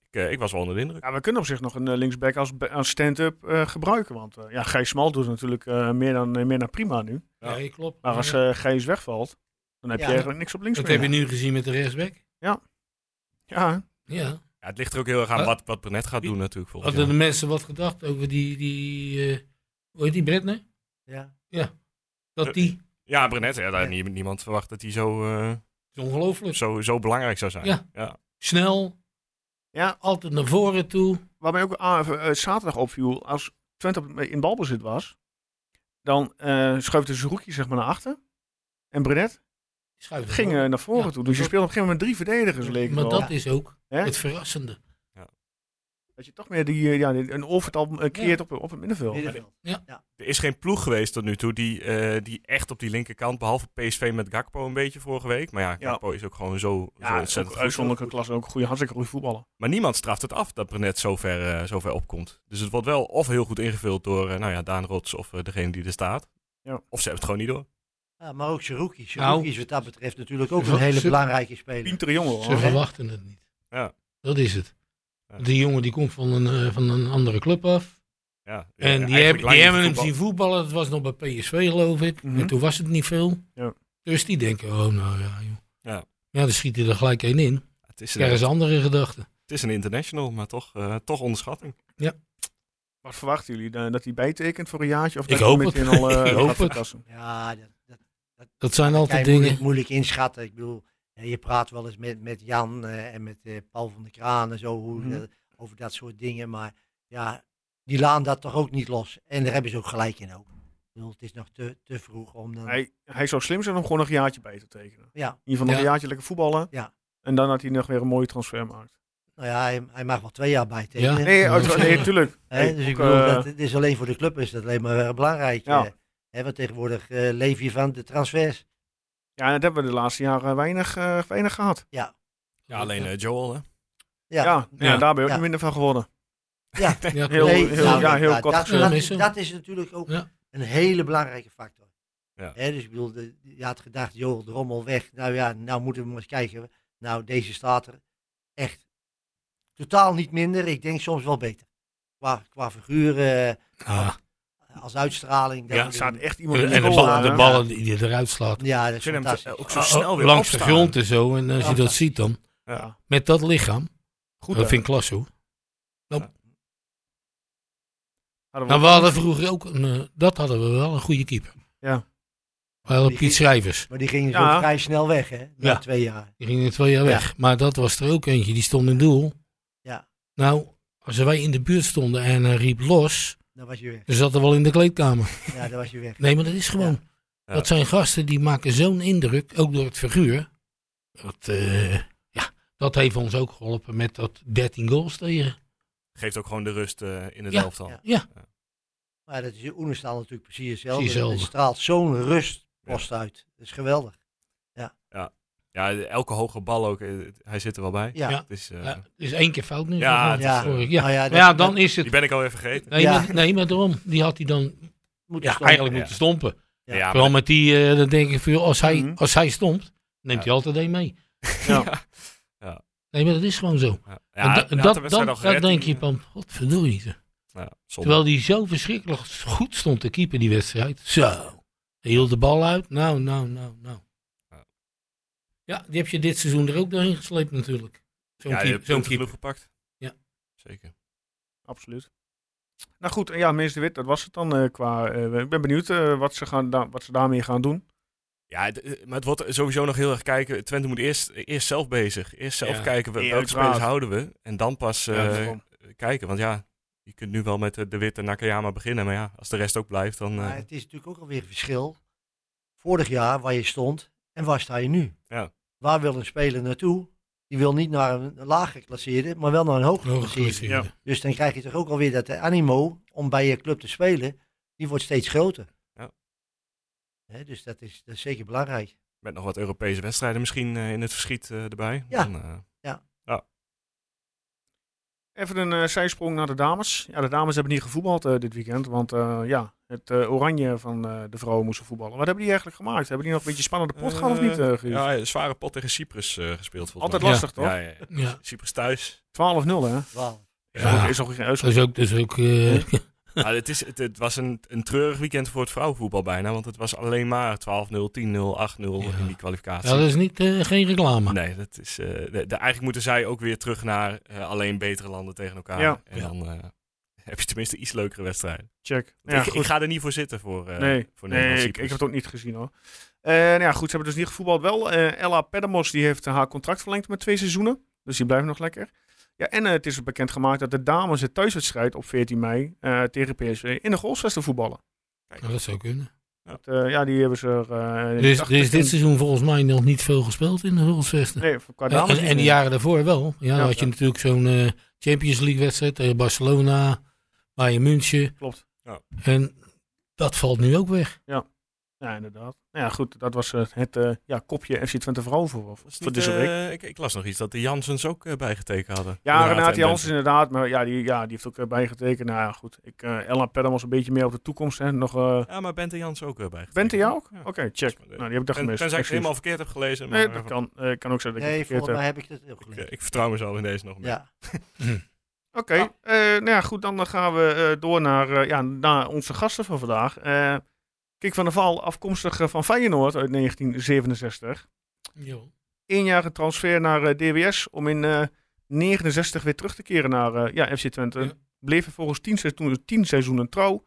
Ik, eh, ik was wel onder de indruk.
Ja, we kunnen op zich nog een eh, linksback als, be- als stand-up eh, gebruiken. Want eh, ja, Gijs Smal doet natuurlijk eh, meer, dan, eh, meer dan prima nu.
Ja.
Nee, klopt.
Maar als
Ja.
eh Gijs wegvalt, dan heb je
Ja.
eigenlijk niks op links
dat
meer.
heb je nu gezien met de rechtsback.
Ja,
Ja.
Ja, het ligt er ook heel erg aan
Eh,
wat, wat Brenet gaat
wie-
doen natuurlijk. volgend
Hadden de
jaar.
mensen wat gedacht over die, die eh, hoe heet die Bretner?
Ja.
Dat die, het
Ja, Brenet. Ja, daar had nie-
Ja.
niemand verwacht dat hij zo, eh,
is ongelooflijk.
zo, zo belangrijk zou zijn.
Ja.
ja.
Snel,
ja,
altijd naar voren toe.
Waar mij ook ah, eh, zaterdag opviel, als Twente op- eh, in balbezit was, dan eh schuift de Zerouki zeg maar naar achter. En Brenet
Schuift
ging eh, naar voren
Ja,
toe. Dus je
dat-
speelde op een gegeven moment met drie verdedigers, leek het
Maar
wel.
dat is ook
Hè?
het verrassende.
Dat je toch meer die, eh, ja, die- een overtal eh, creëert op, op het middenveld.
Middenveld.
Er is geen ploeg geweest tot nu toe die, eh, die echt op die linkerkant, behalve PSV met Gakpo een beetje vorige week. Maar ja,
Ja.
Gakpo is ook gewoon zo, zo
Ja,
ontzettend
ook
goed.
uitzonderlijke klas, ook een goede, hartstikke goede voetballer.
Maar niemand straft het af dat Brenet zo ver, eh, zo ver opkomt. Dus het wordt wel of heel goed ingevuld door eh, nou ja, Daan Rots of eh, degene die er staat.
Ja.
Of ze hebben het gewoon niet door.
Ja, maar ook Cherokee.
Nou.
Cherokee is wat dat betreft natuurlijk ook
Ze-
een hele
ze-
belangrijke speler.
Pinter jongen
Ze
hoor.
verwachten het niet.
Ja.
Dat is het.
Ja.
Die jongen die komt van een, eh, van een andere club af.
Ja,
En die, hebben- die hebben hem zien voetballen. Dat was nog bij PSV, geloof ik.
Mhm.
En toen was het niet veel.
Ja.
Dus die denken, oh, nou ja, joh.
Ja.
Ja, dan schiet hij er gelijk één in.
Het is, een,
Krijgen ze andere gedachten.
het is een international, maar toch, eh, toch onderschatting.
Wat verwachten jullie? Eh, Dat hij bijtekent voor een jaartje? Of
Ik
dat hij
hoop
meteen
het.
al eh,
Ik
gaat
hoop het.
verkassen?
Ja, dat, dat
Dat zijn altijd
kan
dingen.
je moeilijk, moeilijk inschatten. Ik bedoel, eh, je praat wel eens met, met Jan eh, en met eh, Paul van der Kraan en zo hoe,
Mhm.
dat- over dat soort dingen. Maar ja, die laan dat toch ook niet los. En daar hebben ze ook gelijk in ook. Ik bedoel, het is nog te, te vroeg om dan...
Hij, hij zou slim zijn om gewoon nog een jaartje bij te tekenen.
Ja,
In ieder geval nog
Ja.
een jaartje lekker voetballen.
Ja.
En dan had hij nog weer een mooie transfer gemaakt.
nou ja, hij, hij mag wel twee jaar bij tekenen.
Ja.
Nee,
Ja.
uiteraard. Nee, tuurlijk.
Hè,
Nee,
dus ik
ook,
bedoel,
eh,
dat, het is alleen voor de club is dat alleen maar eh, belangrijk.
Ja.
eh. Hè, want tegenwoordig eh, leef je van de transfers.
Ja, dat hebben we de laatste jaren weinig, eh, weinig gehad.
Ja, alleen eh, Joel, hè?
Ja,
Ja,
ja,
Ja.
daar ben je ook
Ja.
niet minder van geworden.
Ja,
Heel-
Nee,
heel-
nou,
ja, heel kort
dat,
gezegd.
dat,
Ja,
is,
missen.
dat is natuurlijk ook
Ja.
een hele belangrijke factor.
Ja.
Hè, dus ik bedoel, de- je had gedacht, joh, de rommel weg. Nou ja, nou moeten we maar eens kijken. Nou, deze staat er echt totaal niet minder. Ik denk soms wel beter. Qua, qua figuren,
Ah,
als uitstraling. dat
Ja,
Er
we-
staat echt iemand in
en de
goal
ballen,
aan,
de
hè?
ballen die je eruit slaat.
Ja, dat
Ik
is
vind hem
fantastisch.
te- ook
Ah,
zo
oh.
snel weer
Langs de
opstaan.
grond en zo. En als je dat
Fantastisch.
ziet dan,
Ja.
met dat lichaam,
Goed,
eh,
dat
hè?
vind ik klasse hoor.
Hadden
Nou, we hadden vroeger ook, een, eh, dat hadden we wel, een goede keeper.
Ja.
We hadden
Die
Piet
ging-
Schrijvers.
Maar die gingen zo
Ja.
vrij snel weg, hè? Na
Ja.
twee jaar.
Die ging in twee jaar
Ja.
weg. Maar dat was er ook eentje, die stond in doel.
Ja.
Nou, als wij in de buurt stonden en hij riep los,
Dan was je weg.
dan zat er wel in de kleedkamer.
Ja, dan was je weg.
Nee, maar dat is gewoon.
Ja.
Dat zijn gasten die maken zo'n indruk, ook door het figuur. Dat, eh, ja, dat heeft ons ook geholpen met dat 13 goals tegen.
Geeft ook gewoon de rust eh, in het
Ja.
elftal.
Ja.
Ja,
Maar dat is Oenestal natuurlijk precies hetzelfde.
Precies
Het
hetzelfde.
straalt zo'n rustpost uit. Dat is geweldig.
Ja, elke hoge bal ook, eh, hij zit er wel bij.
Ja.
Ja.
Het is, eh,
ja, dus één keer fout nu.
Ja,
gegaan.
het
is, eh,
Vorig jaar.
nou ja,
Maar
dat-
ja, dan
dat-
is het
Die ben ik alweer vergeten.
Nee,
Ja.
maar, nee, maar daarom. Die had hij dan
Moet
ja,
stom-
eigenlijk
Ja.
moeten stompen.
Ja.
Ja, maar
Vooral met die, eh, dan denk ik, van, joh, als, hij,
Mhm.
als hij stompt, neemt
Ja.
hij altijd één mee.
Ja.
Ja.
Nee, maar dat is gewoon zo.
Ja,
En da-
hij had de
dat,
wedstrijd
dan,
al gered
dat denk
in-
je van, godverdorie. ze.
Ja, zonde.
Terwijl die zo verschrikkelijk goed stond te keeper die wedstrijd. Zo. Hij hield de bal uit. Nou, nou, nou, nou.
Ja.
Ja, die heb je dit seizoen er ook doorheen gesleept natuurlijk. Zo'n
ja, je
keeper.
hebt
Zo'n
punten
keeper.
genoeg gepakt.
Ja.
Zeker.
Absoluut. Nou goed, en ja, meester Wit, dat was het dan eh, qua... eh, ik ben benieuwd eh, wat, ze gaan, da- wat ze daarmee gaan doen.
Ja, het- eh, maar het wordt sowieso nog heel erg kijken. Twente moet eerst, eerst zelf bezig. Eerst zelf
Ja.
kijken wel-
Ja,
welke
uiteraard.
spelers houden we. En dan pas eh,
Ja, dat is gewoon-
kijken. Want ja, je kunt nu wel met eh, de witte Nakayama beginnen. Maar ja, als de rest ook blijft, dan... eh,
Maar het is natuurlijk ook alweer een verschil. Vorig jaar waar je stond en waar sta je nu?
Ja.
Waar wil een speler naartoe? Die wil niet naar een laag geclasseerde, maar wel naar een hoog
Hoog
geclasseerde.
geclasseerde.
Dus dan krijg je toch ook alweer dat de animo om bij je club te spelen, die wordt steeds groter.
Ja.
Hè, dus dat is, dat is zeker belangrijk.
met nog wat Europese wedstrijden misschien eh, in het verschiet eh, erbij.
Ja.
Dan, eh,
Even een eh, zijsprong naar de dames. Ja, de dames hebben niet gevoetbald eh, dit weekend, want eh, ja, het eh, oranje van eh, de vrouwen moesten voetballen. Wat hebben die eigenlijk gemaakt? Hebben die nog een beetje spannende pot gehad of
eh,
niet, eh, Guus?
ja, een zware pot tegen Cyprus eh, gespeeld volgens
Altijd
mij.
lastig, toch?
Ja, ja, ja.
Ja.
Cyprus thuis.
12-0, hè?
Wauw.
Is
Ja.
ook- Is ook geen
Dat
uitslag.
is ook, dat is ook eh,
Maar het, is, het, het was een, een treurig weekend voor het vrouwenvoetbal bijna. Want het was alleen maar 12-0, 10-0, 8-0 in die kwalificatie.
ja, dat is niet, eh, geen reclame.
Nee, dat is, eh, de- de- eigenlijk moeten zij ook weer terug naar eh, alleen betere landen tegen elkaar.
Ja.
En
Ja.
dan eh, heb je tenminste iets leukere wedstrijden.
Check.
Want
Ja,
ik, ik
goed.
ga er niet voor zitten voor, eh
nee,
voor
nee
Nederland.
ik, ik heb het ook niet gezien hoor. Eh, nou ja, goed, ze hebben dus niet gevoetbald. Wel, eh, Ella Pedamos die heeft eh, haar contract verlengd met twee seizoenen. Dus die blijft nog lekker. Ja, en eh, het is bekendgemaakt dat de dames de thuiswedstrijd op 14 mei eh, tegen PSV in de Golfsvesten voetballen.
Nou, dat zou kunnen.
Dat, eh, ja, die hebben ze er... eh,
Er is,
dacht
er is
ik in-
Dus- dit seizoen volgens mij nog niet veel gespeeld in de Hulsvesten.
Nee, qua
en,
dames
en-
niet
en de
meer.
jaren daarvoor wel. Ja,
Ja.
dan had je natuurlijk zo'n eh, Champions League wedstrijd tegen Barcelona, Bayern München.
Klopt.
Ja.
En dat valt nu ook weg.
Ja, inderdaad. Nou ja, goed, dat was eh, het eh, ja, kopje FC Twente vrouw voor, voor
dus
deze week.
ik, ik las nog iets dat de Jansens ook eh, bijgetekend hadden.
Ja,
Renate
Renate
en
Jansen
Bente.
inderdaad. Maar ja, die, ja, die heeft ook eh, bijgetekend. Nou ja, goed. Ik, eh Ella Pedder was een beetje meer op de toekomst. Hè. Nog, eh
Ja, maar Bente Jansen ook eh, bijgetekend.
Bente jou ook?
Ja.
Oké, check. Nou, die heb ik dan
En,
gemist.
tenzij ik het
Excuus.
helemaal verkeerd heb gelezen. Maar,
Nee, dat kan, eh, kan ook zijn dat ik
Nee,
het verkeerd
volgens
heb.
mij heb ik dat
Ik,
ook
eh,
gelezen.
ik vertrouw mezelf in deze nog meer.
Ja.
Oké, eh nou ja, goed, dan gaan we eh, door naar, eh, ja, naar onze gasten van vandaag. Eh Kik van der Val, afkomstig eh, van Feyenoord uit 1967.
Jo.
Eenjarige transfer naar eh, DWS om in eh 69 weer terug te keren naar eh, ja, FC Twente.
Ja.
Bleef vervolgens 10 seizoenen, 10 seizoenen trouw.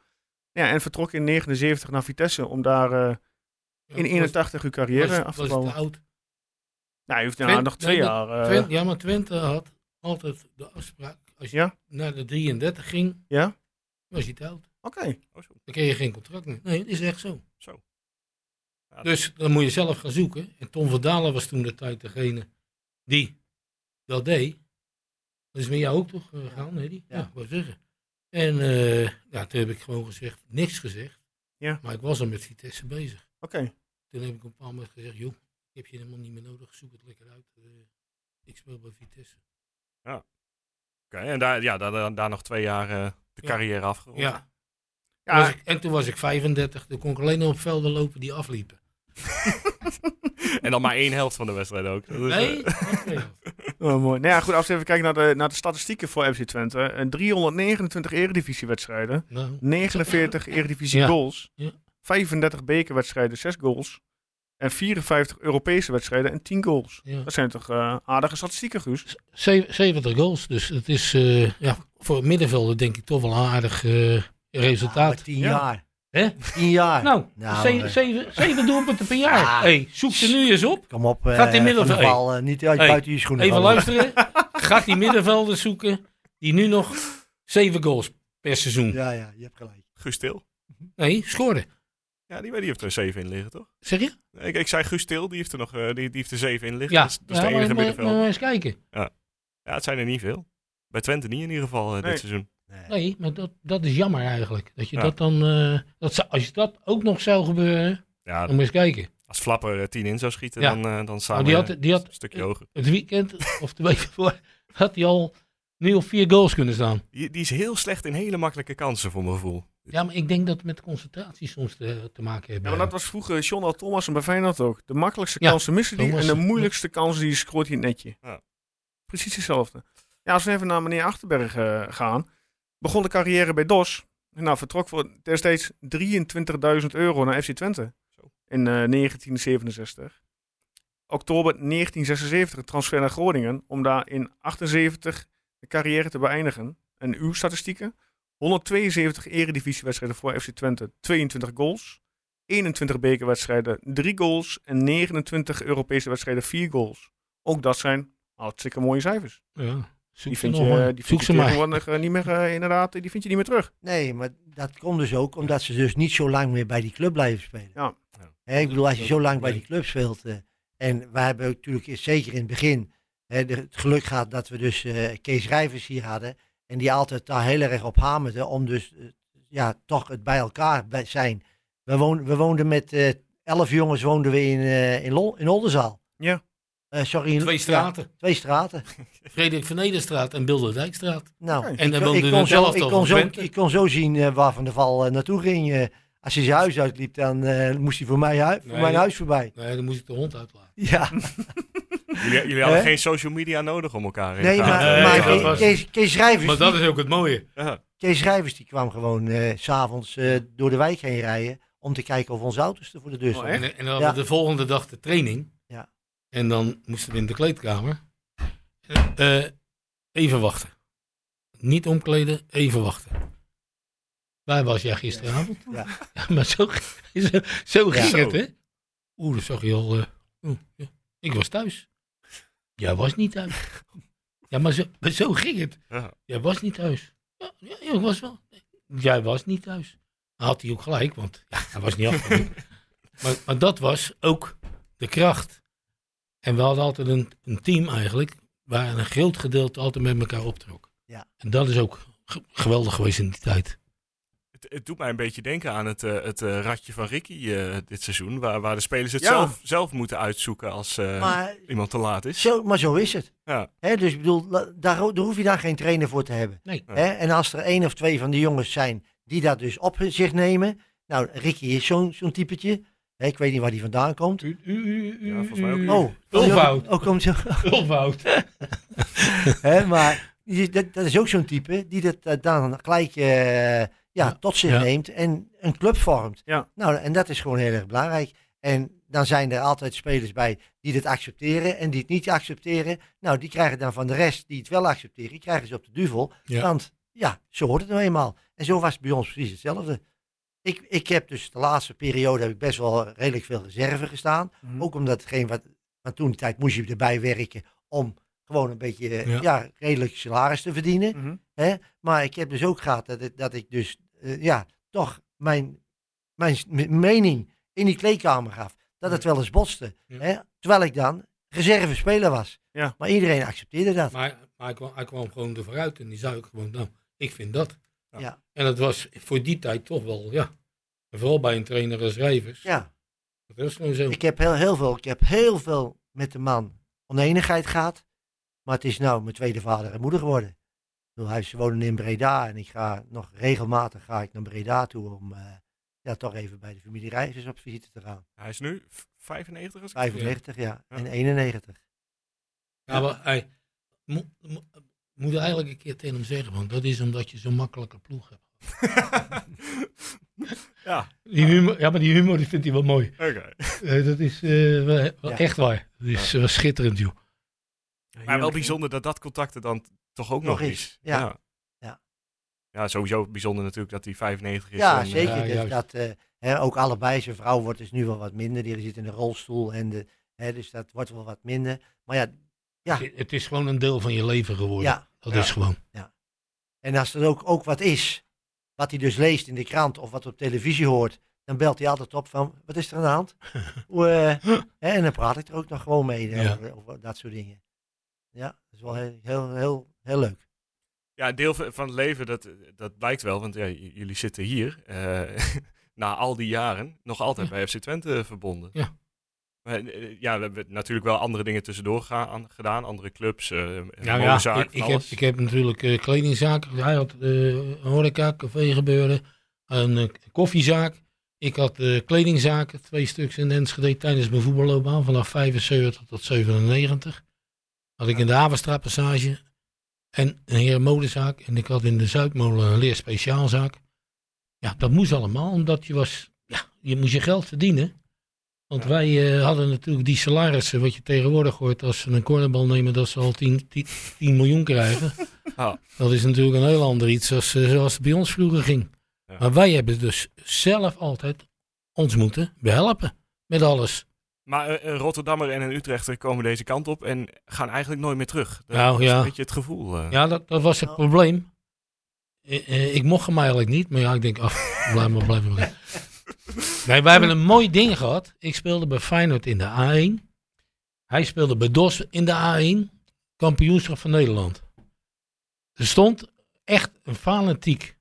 Ja, en vertrok in 79 naar Vitesse om daar eh,
Ja,
in
was-
81 uw carrière
was-
af te
was
bouwen.
te oud.
Nou, hij heeft nou,
Twente-
nog twee
nee,
jaar. eh,
Twente- ja, maar Twente had altijd de afspraak. Als je
Ja?
naar de 33 ging,
Ja?
was je te oud.
Oké.
Oh, zo.
Dan kreeg je geen contract meer. Nee, dat is echt zo.
Ja,
Dus dan moet je zelf gaan zoeken. En Tom van Dalen was toen de tijd degene die dat deed. Dat is met jou ook toch eh, gegaan, hè? die?
Ja.
Ja, wat zeggen. En eh, ja, toen heb ik gewoon gezegd, niks gezegd.
Ja.
Maar ik was al met Vitesse bezig.
Oké.
Toen heb ik op een bepaald moment gezegd, joh, ik heb je helemaal niet meer nodig. Zoek het lekker uit. Eh, ik speel bij Vitesse.
oké, en daar, ja, daar, daar, daar nog twee jaar eh, de
Ja.
carrière afgerond.
Ja, Toen was
Ja,
ik- en toen was ik 35. Toen kon ik alleen nog op velden lopen die afliepen.
En dan maar één helft van de wedstrijd ook. Dat is,
Nee,
eh,
dat weet ik.
Oh, mooi. Nou ja, goed, als we even kijken naar de, naar de statistieken voor FC Twente. Eh, 329 eredivisiewedstrijden,
nou,
49 eredivisie
Ja.
goals,
Ja.
35 bekerwedstrijden, 6 goals en 54 Europese wedstrijden en 10 goals.
ja.
Dat zijn toch eh, aardige statistieken, Guus?
Ze- 70 goals, dus het is eh, ja, voor het middenvelder denk ik toch wel een aardig eh,
Ja, maar
resultaat.
tien
Ja.
jaar.
Hè?
Tien jaar.
Nou,
Nou,
ze-
eh.
zeven, zeven doelpunten per jaar.
Ah.
hey, zoek ze nu eens op.
Kom op, eh,
Gaat die middel-
Van der
Hey.
Waal, eh, niet uit
Hey.
buiten je schoenen.
Even
vallen.
luisteren. Gaat die middenvelder zoeken die nu nog zeven goals per seizoen.
Ja, ja, je hebt gelijk.
Guus Til.
Nee, scoren.
Ja, die, die heeft er zeven in liggen, toch?
Zeg je?
Ik, ik zei Guus Til, die heeft er, nog, eh, die, die heeft er zeven in liggen.
Ja,
Dat is, dat is de
Ja,
enige
maar- maar-
middenveld.
maar eens kijken.
Ja, het zijn er niet veel. Bij Twente niet in ieder geval eh,
Nee.
dit seizoen.
Nee.
Nee, maar dat, dat is jammer eigenlijk. Dat je
Ja.
dat dan, eh, dat, zou- als dat ook nog zou gebeuren,
Ja,
dan moet je eens kijken.
als Flapper eh, tien in zou schieten,
Ja.
dan, eh, dan
Nou,
samen
die had, die had
een stukje hoger.
het weekend, of de week ervoor, had hij al nu op vier goals kunnen staan.
Die, die is heel slecht in hele makkelijke kansen, voor mijn gevoel.
Ja, maar ik denk dat het met concentratie soms te, te maken
Ja,
hebben.
maar dat was vroeger John Al Thomas en bij Feyenoord ook. De makkelijkste
Ja,
kansen missen die en de
Thomassen.
moeilijkste kansen die scoort hij in het netje.
Ja.
Precies hetzelfde. Ja, als we even naar meneer Achterberg eh, gaan. Begon de carrière bij DOS. Nou, vertrok voor destijds 23.000 euro naar FC Twente.
Zo.
In eh, 1967. Oktober 1976 transfer naar Groningen. Om daar in 78 de carrière te beëindigen. En uw statistieken? 172 eredivisiewedstrijden voor FC Twente. 22 goals. 21 bekerwedstrijden, 3 goals. En 29 Europese wedstrijden, 4 goals. Ook dat zijn hartstikke mooie cijfers.
Ja, zoek
Die
ze
vind
nog
je,
maar.
die vind
zoek
je
ze maar.
tegenwoordig eh, niet meer, eh, inderdaad, die vind je niet meer terug. Ah,
Nee, maar dat komt dus ook omdat ze dus niet zo lang meer bij die club blijven spelen.
Ja.
Ja.
Hè, ik bedoel, als je zo lang bij
Nee.
die club speelt. eh, en we hebben natuurlijk eerst zeker in het begin hè, de- het geluk gehad dat we dus eh, Kees Rijvers hier hadden. En die altijd daar heel erg op hamerde om dus eh, ja, toch het bij elkaar bij zijn. We, woon, we woonden met eh, elf jongens woonden we in, eh, in, Lol, in Oldenzaal.
Ja.
Eh, sorry. in-
Twee straten.
ja, twee straten.
Frederik van Nederstraat en Bilderdijkstraat.
Nou,
Oké.
ik-
En dan
ik
woonde
kon
dan
zo-
zelf
ik
toch
kon
op
zo-
Twente?
Ik kon zo zien eh, waar Van der Val eh, naartoe ging. eh. als hij zijn huis uitliep, dan eh, moest hij voor, mij hui- voor
Nee.
mijn huis voorbij.
Nee, dan moest ik de hond uitlaten.
Ja,
Jullie, jullie hadden
Hè?
geen social media nodig om elkaar in te
nee,
gaan.
maar,
Nee,
maar
dat
Kees-
was-
Kees, Kees, Rijvers, die,
is ook het mooie.
Ja.
Kees Rijvers die kwam gewoon eh, s s'avonds door de wijk heen rijden. Om te kijken of onze auto's er voor de deur
Oh,
stonden.
echt?
En, en dan hadden we de volgende dag de training.
Ja.
En dan moesten we in de kleedkamer. Eh, eh, even wachten. Niet omkleden, even wachten. Waar was jij gisteravond?
Ja.
Ja, maar zo, zo, zo
Ja.
ging
Zo.
het, hè? Oeh, dat zag je al. eh, oeh, ja. Ik was thuis. Jij was niet thuis. Ja, maar zo, maar zo ging het.
Ja.
Jij was niet thuis. Ja, ja, ja, ik was wel. Jij was niet thuis. Had hij ook gelijk, want ja, hij was niet afgelopen. maar, maar dat was ook de kracht. En we hadden altijd een, een team eigenlijk, waar een groot gedeelte altijd met elkaar optrok.
Ja.
En dat is ook ge- geweldig geweest in die tijd.
Het, het doet mij een beetje denken aan het, eh, het eh, ratje van Ricky eh, dit seizoen. Waar, waar de spelers het
Ja.
zelf, zelf moeten uitzoeken als eh,
Maar
iemand te laat is.
zo, maar zo is het.
Ja.
Hè, dus ik bedoel, la- daar, ho- daar hoef je daar geen trainer voor te hebben.
Nee.
Ja.
Hè, en als er één of twee van die jongens zijn die dat dus op zich nemen. Nou, Ricky is zo'n zo'n typetje. Hè, ik weet niet waar die vandaan komt.
U, u, u,
Ja, volgens mij ook u.
Oh,
Ulvoud.
Oh, komt zo.
Ulvoud.
Hè, maar Die- dat, dat is ook zo'n type die dat eh, dan gelijk eh, ja,
Ja.
tot zich
Ja.
neemt en een club vormt.
Ja.
Nou, en dat is gewoon heel erg belangrijk. En dan zijn er altijd spelers bij die dat accepteren en die het niet accepteren. Nou, die krijgen dan van de rest die het wel accepteren, die krijgen ze op de duvel.
Ja.
Want ja, zo hoort het nou eenmaal. En zo was het bij ons precies hetzelfde. Ik, ik heb dus de laatste periode heb ik best wel redelijk veel reserve gestaan.
Mhm.
Ook omdat hetgeen wat. Want toen die tijd moest je erbij werken om gewoon een beetje eh,
Ja.
ja. redelijk salaris te verdienen.
Mhm.
Hè? Maar ik heb dus ook gehad dat, het- dat ik dus eh, ja, toch mijn, mijn s- m- mening in die kleedkamer gaf. Dat het wel eens botste.
Ja.
Hè? Terwijl ik dan reserve speler was.
Ja.
Maar iedereen accepteerde dat.
Maar, maar hij, kwam, hij kwam gewoon er vooruit en die zei ook gewoon, nou, ik vind dat.
Ja.
En dat was voor die tijd toch wel, ja. En vooral bij een trainer als Rijvers.
ja,
Dat is gewoon zo.
ik heb heel, heel veel. Ik heb heel veel met de man oneenigheid gehad. Maar het is nou mijn tweede vader en moeder geworden. Ik bedoel, Hij ze wonen in Breda en ik ga nog regelmatig ga ik naar Breda toe om eh, ja, toch even bij de familie Reizers op visite te gaan.
Hij is nu v- 95 als ik
95 ja,
Ja.
en 91.
Ja, Nou, maar hij mo- mo- moet eigenlijk een keer tegen hem zeggen, want dat is omdat je zo'n makkelijke ploeg hebt.
ja,
Die humor, ja, maar die humor die vindt hij wel mooi.
oké.
Eh, dat is eh, wel- wel
Ja.
echt waar. Dat is wel schitterend, joh.
Maar wel
Heerlijk.
bijzonder dat dat contact er dan toch ook nog,
Nog
is.
is, ja.
Ja.
Ja.
Ja, sowieso bijzonder natuurlijk dat hij 95 is.
Ja,
en, eh,
zeker.
Ja,
dus
juist.
dat, eh, hè, ook allebei, zijn vrouw wordt dus nu wel wat minder. Die zit in een rolstoel en de, hè, dus dat wordt wel wat minder. Maar ja, Ja.
Het- Het is gewoon een deel van je leven geworden.
ja,
Dat
Ja.
is gewoon.
En als er ook, ook wat is, wat hij dus leest in de krant of wat op televisie hoort, dan belt hij altijd op van, wat is er aan de hand? Hoe, eh, hè, en dan praat ik er ook nog gewoon mee eh,
Ja.
over, over dat soort dingen. Ja, dat is wel heel, heel, heel, heel leuk.
Ja, een deel van van het leven, dat, dat blijkt wel. Want ja, j- jullie zitten hier, eh, na al die jaren, nog altijd bij FC Twente verbonden.
Ja.
Maar, eh, ja, we hebben natuurlijk wel andere dingen tussendoor ga- gedaan. Andere clubs, eh
Nou
ja,
ja, ik, ik heb,
alles.
ik heb natuurlijk eh, kledingzaken. Hij had eh, een horeca, café gebeuren, een eh, koffiezaak. Ik had eh, kledingzaken, twee stuks in Enschede tijdens mijn voetballoopbaan. Vanaf 75 tot 97. Had ik in de Havenstraatpassage en een herenmodezaak. En ik had in de Zuidmolen een leerspeciaalzaak. Ja, dat moest allemaal, omdat je was... Ja, je moest je geld verdienen. Want
Ja.
wij eh, hadden natuurlijk die salarissen, wat je tegenwoordig hoort als ze een cornerbal nemen, dat ze al 10, 10, 10 miljoen krijgen.
Ja.
Dat is natuurlijk een heel ander iets als, eh, zoals het bij ons vroeger ging.
Ja.
Maar wij hebben dus zelf altijd ons moeten behelpen met alles.
Maar eh, een Rotterdammer en een Utrechter komen deze kant op en gaan eigenlijk nooit meer terug. Dat
Nou,
is
ja.
een beetje het gevoel. eh.
Ja, dat, dat was het probleem. Eh, eh, ik mocht hem eigenlijk niet, maar ja, ik denk, ach, blijf maar, blijf maar. Nee, wij hebben een mooi ding gehad. Ik speelde bij Feyenoord in de A1. Hij speelde bij DOS in de A1. Kampioenschap van Nederland. Er stond echt een fanatiek.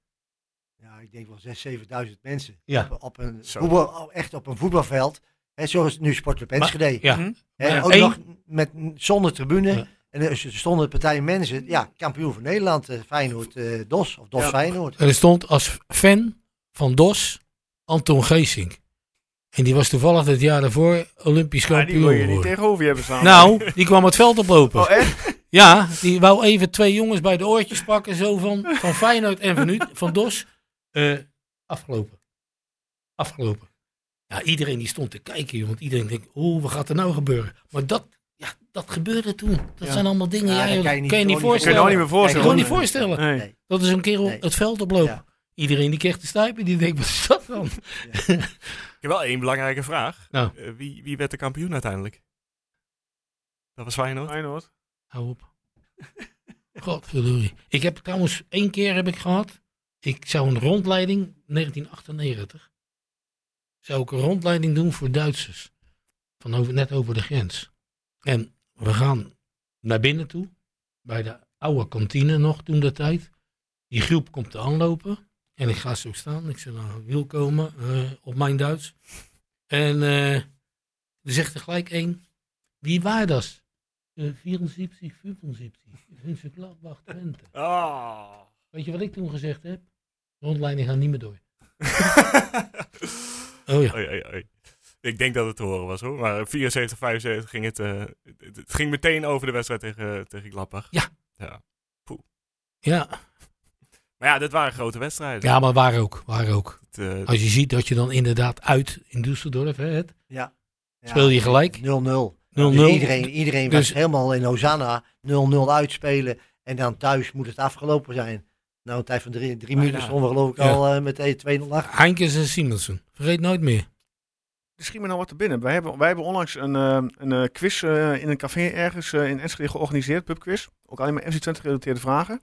Ja, ik denk wel 6.000, 7.000 mensen
Ja.
op, op een
Zo.
voetbal, echt op een voetbalveld. Hè, zoals nu Sportclub Enschede.
Ja,
Mhm.
Hè,
maar
ook
één-
nog met, zonder tribune.
Ja.
En er stonden partijen mensen, ja, kampioen van Nederland, eh, Feyenoord, eh, DOS of DOS
Ja.
Feyenoord.
er stond als fan van DOS Anton Geesink. En die was toevallig het jaar daarvoor Olympisch
Ja, die wil
kampioen
je niet
geworden.
tegenover je hebben staan.
Nou, die kwam het veld oplopen.
Oh, echt?
Ja, die wou even twee jongens bij de oortjes pakken. Zo van, van Feyenoord en van, Ut- van Dos. Eh, afgelopen. Afgelopen. Ja, iedereen die stond te kijken. joh, Want iedereen denkt, oeh, wat gaat er nou gebeuren? Maar dat, ja, dat gebeurde toen. Dat
Ja.
zijn allemaal dingen.
Ja,
Ja,
dat
joh,
kan je
dat
niet-
kan je niet
kan je niet
Ik kan je nou niet
voorstellen.
meer voorstellen.
Ik kon niet voorstellen.
Nee.
Nee.
Dat is een kerel
Nee.
het veld oplopen.
Ja.
Iedereen die kreeg de stuip en die denkt, wat is dat dan?
Ik heb wel één belangrijke vraag.
Nou.
Eh, wie, wie werd de kampioen uiteindelijk? Dat was Feyenoord?
Feyenoord.
Hou op. Godverdorie. Ik heb trouwens één keer heb ik gehad. Ik zou een rondleiding, 1998. Zou ik een rondleiding doen voor Duitsers. Van over, net over de grens. En we gaan naar binnen toe. Bij de oude kantine nog toen de tijd. Die groep komt te aanlopen. En ik ga zo staan. Ik zeg nou, wil komen eh, op mijn Duits. En eh, er zegt er gelijk één. Wie waar dat? Eh, 74, 75. Mönchengladbach, Twente.
Ah.
Weet je wat ik toen gezegd heb? De rondleiding gaat niet meer door. Oh ja.
Oei, oei, oei. Ik denk dat het te horen was hoor. Maar 74, 75 ging het. eh, het, het ging meteen over de wedstrijd tegen, tegen Gladbach.
Ja.
ja. Poeh.
Ja,
Maar ja, dit waren grote wedstrijden.
ja Ah. maar waar ook, waar ook.
Het, eh,
Als je ziet dat je dan inderdaad uit in Düsseldorf, hè, het,
Ja. Ja.
speel je gelijk. 0-0.
0-0. Dus iedereen iedereen
Dus-
was helemaal in Hosanna 0-0 uitspelen. En dan thuis moet het afgelopen zijn. Nou, een tijd van drie, drie minuten stonden we geloof ik
Ja.
al eh, met 2-0 achter.
Heinkens en Simonsen. Vergeet nooit meer.
Er schiet me nou wat te binnen. Wij hebben, wij hebben onlangs een, eh, een eh, quiz eh, in een café ergens eh, in Enschede georganiseerd, pubquiz. Ook alleen maar FC Twente gerelateerde vragen.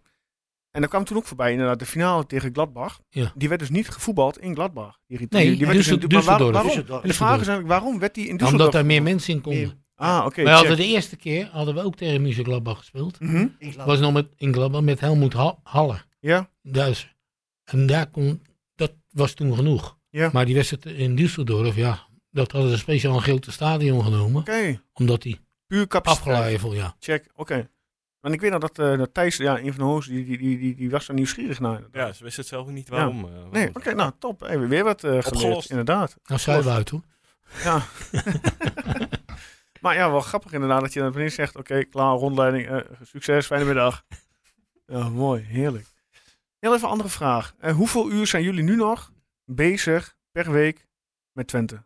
En daar kwam toen ook voorbij inderdaad de finale tegen Gladbach.
Ja.
Die werd dus niet gevoetbald in Gladbach. Die, die-
Nee,
die werd dus in-
Düssel-
maar waar-
Düsseldorf.
waarom?
Düsseldorf.
En de vraag is eigenlijk, waarom werd die in Düsseldorf?
Omdat daar meer mensen in konden.
Meer-
Ah, oké.
Wij hadden
check.
de eerste keer hadden we ook tegen München Gladbach gespeeld.
Mhm,
Ik laat-
was nog met, in Gladbach met Helmoet Ha- Haller.
Ja,
Duits. En daar kon, dat was toen genoeg.
Ja.
Maar die wedstrijd in Düsseldorf, ja, dat hadden ze speciaal een grote stadion genomen.
oké.
Omdat die
Puur capaciteit.
afgeleid ja.
Check, oké. Want ik weet nog dat, eh, dat Thijs, ja, een van de hosts, die, die, die, die, die was daar nieuwsgierig naar.
ja, ze wisten het zelf ook niet waarom. eh,
Nee,
Oh,
waarom.
oké, nou top. Even weer wat eh geleerd,
Opgelost.
inderdaad.
Nou, zijn we uit hoor.
Ja. maar ja, wel grappig inderdaad dat je dan opeens zegt, oké, klaar, rondleiding, eh, succes, fijne middag. Ja, mooi, heerlijk. Heel even een andere vraag. Eh, hoeveel uur zijn jullie nu nog bezig per week met Twente?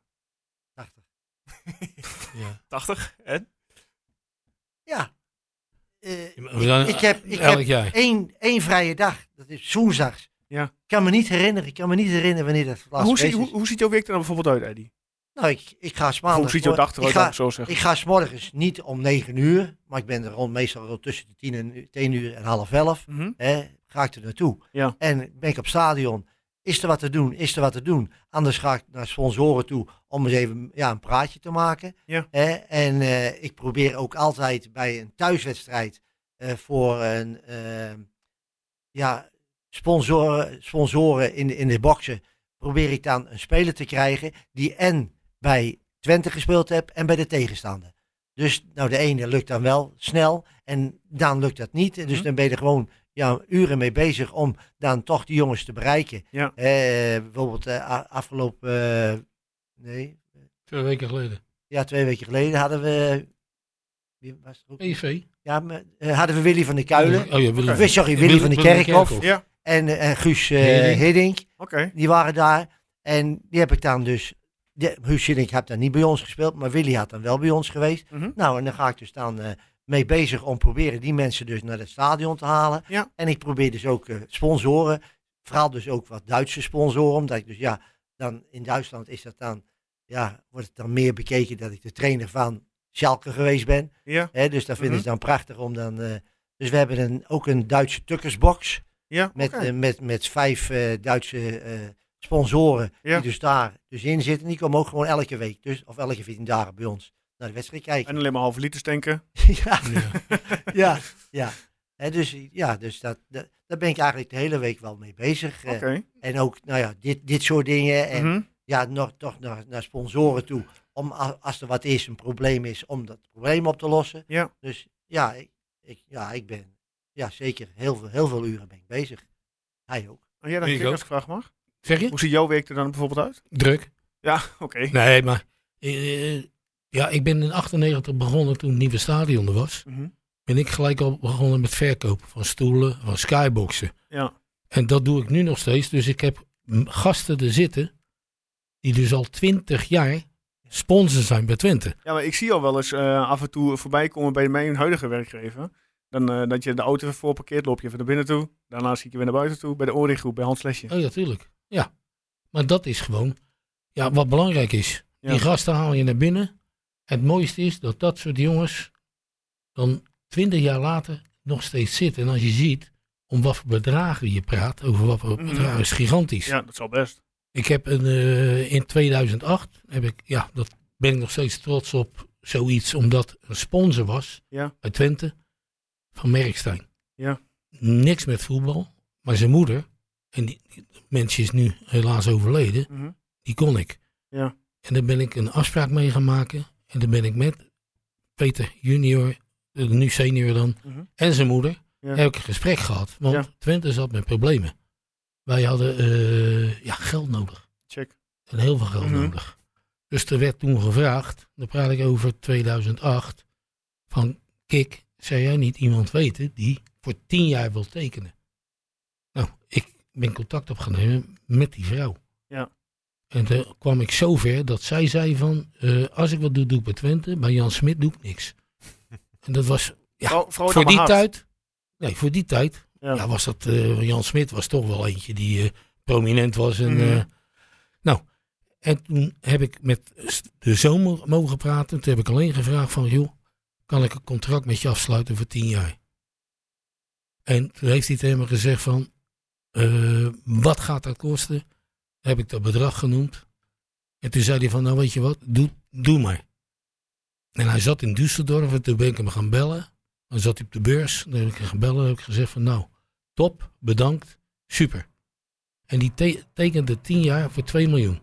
Ja.
80 en?
Ja. Eh,
We zijn-
ik heb, ik
elk
heb
jaar.
één, één vrije dag. Dat is woensdags.
Ja.
Ik kan me niet herinneren. Ik kan me niet herinneren wanneer dat voor het
Maar
laatst
Hoe, zie,
geweest
hoe,
is.
hoe ziet jouw week er dan bijvoorbeeld uit, Eddy?
Nou, ik, ik ga 's
Of
maandags.
Hoe ziet jouw dag
ik
eruit,
ga-
laat ik zo zeggen?
Ik ga s'morgens niet om 9 uur, maar ik ben er rond, meestal rond tussen de 10 en 10 uur en half 11.
Mhm.
Hè, ga ik er naartoe.
Ja.
En ben ik op stadion. Is er wat te doen? Is er wat te doen? Anders ga ik naar sponsoren toe om eens even ja, een praatje te maken.
Ja.
Hè, en eh, ik probeer ook altijd bij een thuiswedstrijd eh, voor een eh, ja, sponsoren, sponsoren in, de- in de boxen. Probeer ik dan een speler te krijgen die en bij Twente gespeeld heb en bij de tegenstander. Dus nou, de ene lukt dan wel snel en dan lukt dat niet. En Dus
Mhm.
dan ben je er gewoon ja, uren mee bezig om dan toch die jongens te bereiken.
Ja.
Eh, bijvoorbeeld eh, a- afgelopen, eh, nee,
Twee weken geleden.
ja, twee weken geleden hadden we, wie was het ook?
PSV.
Ja, maar, eh, hadden we Willy van der Kuilen.
E Oh ja, Willem.
Of, eh, sorry, Willy van de Kerkhof.
Ja.
En, eh, Guus eh
Hiddink.
Hiddink,
Oké,
die waren daar. En die heb ik dan dus, de, Guus Hiddink had dan niet bij ons gespeeld, maar Willy had dan wel bij ons geweest.
mhm.
Nou, en dan ga ik dus dan eh, mee bezig om proberen die mensen dus naar het stadion te halen.
Ja.
En ik probeer dus ook eh, sponsoren, vooral dus ook wat Duitse sponsoren, omdat ik dus ja, dan in Duitsland is dat dan, ja, wordt het dan meer bekeken dat ik de trainer van Schalke geweest ben.
ja.
Hè, dus dat vinden
Mhm.
ze dan prachtig om dan, eh, dus we hebben een, ook een Duitse tukkersbox
ja
met,
oké.
eh, met, met vijf eh, Duitse eh, sponsoren
Ja.
die dus daar dus in zitten. Die komen ook gewoon elke week, dus, of elke 14 dagen bij ons naar de wedstrijd kijken.
En alleen maar halve liters tanken.
ja.
Ja.
Ja, ja. Hè, dus ja, dus dat, dat, daar ben ik eigenlijk de hele week wel mee bezig. eh.
Oké.
En ook, nou ja, dit, dit soort dingen. En
mhm.
ja, nog, toch naar, naar sponsoren toe. Om a- als er wat is, een probleem is, om dat probleem op te lossen.
Ja.
Dus ja, ik, ik, ja, ik ben ja, zeker heel veel, heel veel uren ben ik bezig. Hij ook.
En jij Oh dan,
Ik
Kik,
ook.
als ik vraag mag?
Zeg je?
Hoe ziet jouw week er dan bijvoorbeeld uit?
Druk.
Ja, oké.
Nee, maar. eh, ja, ik ben in 98 begonnen toen het nieuwe stadion er was.
Mhm.
Ben ik gelijk al begonnen met verkopen van stoelen, van skyboxen.
Ja.
En dat doe ik nu nog steeds. Dus ik heb m- gasten er zitten. Die dus al 20 jaar sponsor zijn bij Twente.
Ja, maar ik zie al wel eens eh, af en toe voorbij komen bij mijn huidige werkgever. Dan eh, dat je de auto voor parkeert, loop je even naar binnen toe. Daarna zie ik je weer naar buiten toe. Bij de Oringgroep, bij Hans Lesje.
Oh ja, tuurlijk. Ja. Maar dat is gewoon ja, wat belangrijk is.
Ja.
Die gasten haal je naar binnen. Het mooiste is dat dat soort jongens dan 20 jaar later nog steeds zitten. En als je ziet om wat voor bedragen je praat, over wat voor
Mhm.
bedragen, is gigantisch.
Ja, dat zal best.
Ik heb een, eh, in 2008, heb ik, ja, dat ben ik nog steeds trots op, zoiets, omdat een sponsor was
Ja.
bij Twente van Merkstein.
Ja.
Niks met voetbal, maar zijn moeder, en die, die mens is nu helaas overleden,
Mhm.
die kon ik.
Ja.
En daar ben ik een afspraak mee gaan maken. En daar ben ik met Peter junior, eh, nu senior dan,
Mhm.
en zijn moeder,
Ja.
heb ik een gesprek gehad. Want
Ja.
Twente zat met problemen. Wij hadden eh, ja, geld nodig.
Check.
En heel veel geld
Mhm.
nodig. Dus er werd toen gevraagd, dan praat ik over 2008, van Kik, zou jij niet iemand weten die voor tien jaar wil tekenen? Nou, ben contact opgenomen met die vrouw.
Ja.
En toen kwam ik zo ver dat zij zei van, eh, als ik wat doe, doe ik bij Twente. Bij Jan Smit doe ik niks. en dat was Ja,
Vrouw- vrouw
voor
dan
die
maar Oh, hard.
tijd. Nee, voor die tijd.
Ja.
Ja, was dat. eh, Jan Smit was toch wel eentje die eh, prominent was. En,
Mhm.
eh, nou, en toen heb ik met st- de zoon mo- mogen praten. Toen heb ik alleen gevraagd: van joh, kan ik een contract met je afsluiten voor tien jaar? En toen heeft hij tegen me gezegd: van eh, wat gaat dat kosten? Heb ik dat bedrag genoemd. En toen zei hij: van nou weet je wat, doe, doe maar. En hij zat in Düsseldorf en toen ben ik hem gaan bellen. Dan zat hij op de beurs. Dan heb ik hem gebeld en heb ik gezegd van nou, top, bedankt, super. En die te- tekende 10 jaar voor 2 miljoen.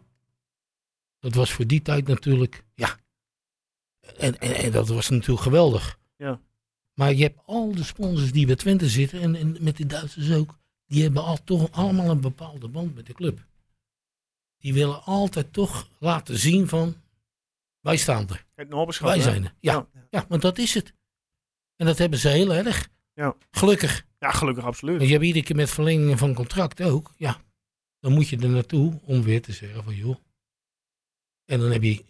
Dat was voor die tijd natuurlijk, ja. En, en, en dat was natuurlijk geweldig.
Ja.
Maar je hebt al de sponsors die bij Twente zitten en, en met de Duitsers ook. Die hebben al, toch allemaal een bepaalde band met de club. Die willen altijd toch laten zien van, wij staan er.
Het Norberschap,
Wij
hè?
zijn er. Ja, ja. want dat is het. En dat hebben ze heel erg.
Ja.
Gelukkig.
Ja, gelukkig absoluut.
Want je hebt iedere keer met verlengingen van contract ook. Ja. Dan moet je er naartoe om weer te zeggen van joh. En dan heb je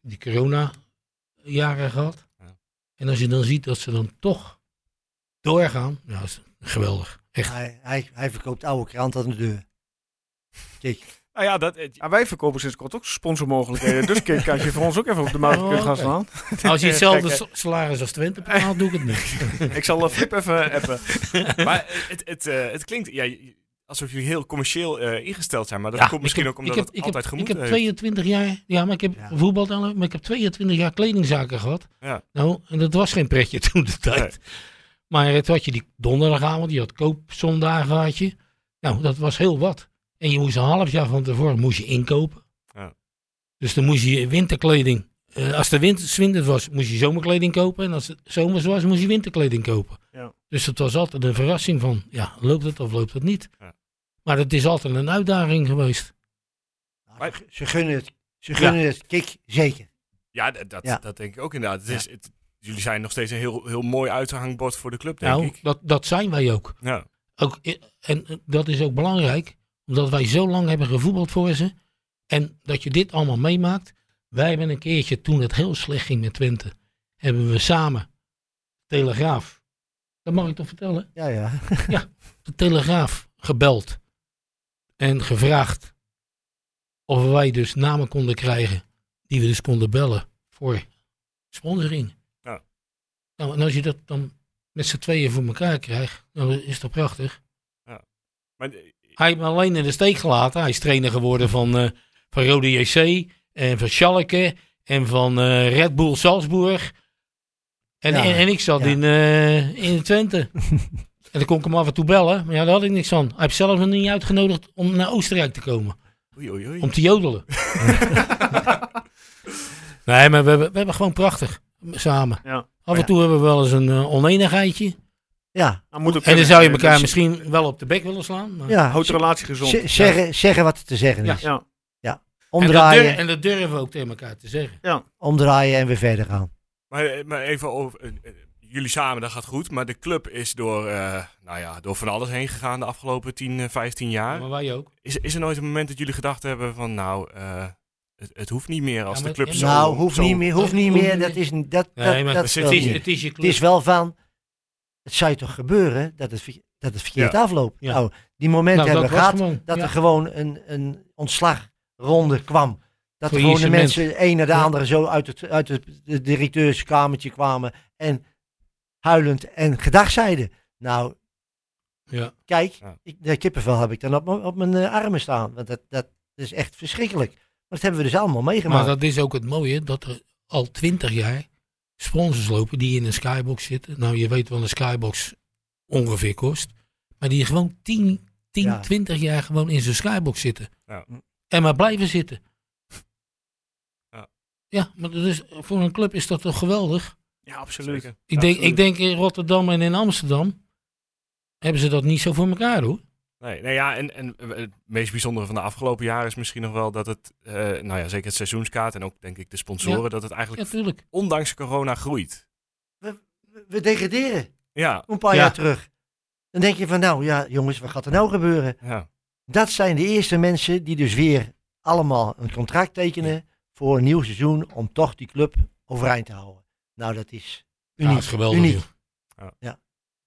die corona-jaren gehad.
Ja.
En als je dan ziet dat ze dan toch doorgaan. Nou, is geweldig. Echt.
Hij, hij, hij verkoopt oude kranten aan de deur. Kijk,
Nou ja, dat, eh,
Ja, wij verkopen sinds kort ook sponsormogelijkheden. dus kijk, als je voor ons ook even op de markt
Oh,
kunt gaan
oké.
staan.
Als je hetzelfde
Kijk,
sa- salaris als Twente betaalt, doe ik het niet.
Ik zal eh, Flip even appen.
maar het, het, eh, het klinkt ja, je- alsof jullie heel commercieel eh, ingesteld zijn. Maar dat
Ja,
komt
ik
misschien
heb-
ook omdat
ik heb,
het
ik
altijd
heb,
gemoed
Ik heb
heeft.
22 jaar, ja, maar ik heb
Ja.
voetbal dan, maar ik heb 22 jaar kledingzaken gehad.
Ja.
Nou, en dat was geen pretje toen de tijd. Maar het had je die donderdagavond, je had koopzondagen had je. Nou, dat was heel wat. En je moest een half jaar van tevoren moest je inkopen.
Ja.
Dus dan moest je winterkleding. eh, als de winter, 's winters was, moest je zomerkleding kopen. En als het zomers was, moest je winterkleding kopen.
Ja.
Dus het was altijd een verrassing van, ja, loopt het of loopt het niet?
Ja.
Maar het is altijd een uitdaging geweest.
Maar-
Nou, ze- ze gunnen het. Ze gunnen het. Kik, zeker.
Ja, dat, dat,
Ja.
dat denk ik ook inderdaad. Het is, het, jullie zijn nog steeds een heel, heel mooi uithangbord voor de club, denk
Nou,
ik.
dat, dat zijn wij ook.
Ja,
ook. i- En eh, dat is ook belangrijk, omdat wij zo lang hebben gevoetbald voor ze. En dat je dit allemaal meemaakt. Wij hebben een keertje, toen het heel slecht ging met Twente, hebben we samen, Telegraaf, dat mag ik toch vertellen?
Ja, ja.
de Telegraaf gebeld en gevraagd of wij dus namen konden krijgen die we dus konden bellen voor sponsoring.
Ja.
Nou, en als je dat dan met z'n tweeën voor elkaar krijgt, dan is dat prachtig.
maar eh,
Hij heeft me alleen in de steek gelaten. Hij is trainer geworden van, eh, van Rode JC en van Schalke en van eh, Red Bull Salzburg. En,
Ja,
en, en ik zat
ja.
in, eh, in Twente. En dan kon ik hem af en toe bellen, maar ja, daar had ik niks aan. Hij heeft zelf me niet uitgenodigd om naar Oostenrijk te komen,
oei, oei, oei.
om te jodelen. nee, maar we hebben, we hebben gewoon prachtig samen.
Ja.
Af en
Ja.
toe hebben we wel eens een eh, oneenigheidje.
Ja,
Nou, moet ook
En dan
kunnen.
zou je
Eh,
elkaar
dus
misschien wel op de bek willen slaan. Maar...
ja.
Houdt de relatie gezond.
Z- zeggen, zeggen wat er te zeggen
Ja.
is.
Ja.
En, dat
Omdraaien,
dur- en dat durven we ook tegen elkaar te zeggen.
omdraaien en weer verder gaan.
Maar, eh, maar even over... eh, eh, Jullie samen, dat gaat goed. Maar de club is door, eh, nou ja, door van alles heen gegaan de afgelopen 10, eh, 15 jaar.
Maar wij ook.
Is, is er nooit een moment dat jullie gedacht hebben van... Nou, eh, het, het hoeft niet meer als
Ja,
de
maar-
club
ja,
zo...
maar-
nou, hoeft
zo-
niet meer. Hoeft niet
Hoeft
meer.
niet
Dat
meer.
is, een- dat, dat,
Nee, maar
dat
het
speelt
is-
Het is,
niet.
het is je
Het
club.
is wel van, het zou je toch gebeuren dat het, verke- dat het verkeerd afloopt.
Ja.
Nou, die momenten
Nou,
hebben we
was
gehad
gewoon-
dat
ja.
er gewoon een, een ontslagronde kwam. Dat
Voor
gewoon de
isolement.
mensen, de een na de
Ja.
andere, zo uit het, uit het de directeurskamertje kwamen. En huilend en gedag zeiden. Nou,
Ja.
kijk,
Ja.
ik, de kippenvel heb ik dan op, mijn- op mijn eh, armen staan. Want dat, dat is echt verschrikkelijk. Maar dat hebben we dus allemaal meegemaakt.
Maar dat is ook het mooie, dat er al twintig jaar sponsors lopen die in een skybox zitten. Nou, je weet wel een skybox ongeveer kost. Maar die gewoon 10, 10
Ja.
20 jaar gewoon in zo'n skybox zitten.
Ja.
En maar blijven zitten.
Ja.
Ja, maar dat is, voor een club is dat toch geweldig?
Ja, absoluut.
Zeker.
Ik denk,
Absoluut.
ik denk in Rotterdam en in Amsterdam hebben ze dat niet zo voor elkaar hoor.
Nee, nou ja, en, en eh, het meest bijzondere van de afgelopen jaren is misschien nog wel dat het, eh, nou ja, zeker het seizoenskaart en ook denk ik de sponsoren, dat het eigenlijk
Ja, tuurlijk.
ondanks corona groeit.
We- We degraderen
Ja,
een paar
Ja.
jaar terug. Dan denk je van, nou ja, jongens, wat gaat er nou gebeuren?
ja.
Dat zijn de eerste mensen die dus weer allemaal een contract tekenen voor een nieuw seizoen om toch die club overeind te houden. Nou, dat is uniek.
Ja, dat is geweldig.
uniek.
joh.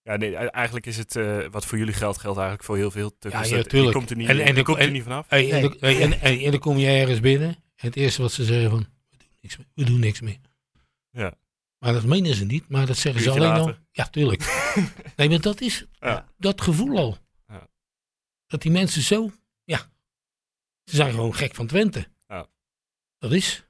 Ja, nee, e- eigenlijk is het eh, wat voor jullie geldt, geldt eigenlijk voor heel veel tukkers.
Ja, ja,
Dat- je
tuurlijk.
komt er niet,
En- en
je
de-
komt er
en-
niet vanaf.
Hey, en,
Nee.
dan- hey, en, en, en dan kom je ergens binnen. En het eerste wat ze zeggen van, we doen niks meer. We doen niks meer.
Ja.
Maar dat menen ze niet. Maar dat zeggen ze
Uurtje
alleen al.
later.
Ja, tuurlijk. nee, maar dat is
Ja.
dat gevoel al.
Ja.
Dat die mensen zo, ja. Ze zijn gewoon gek van Twente.
Ja.
Dat is.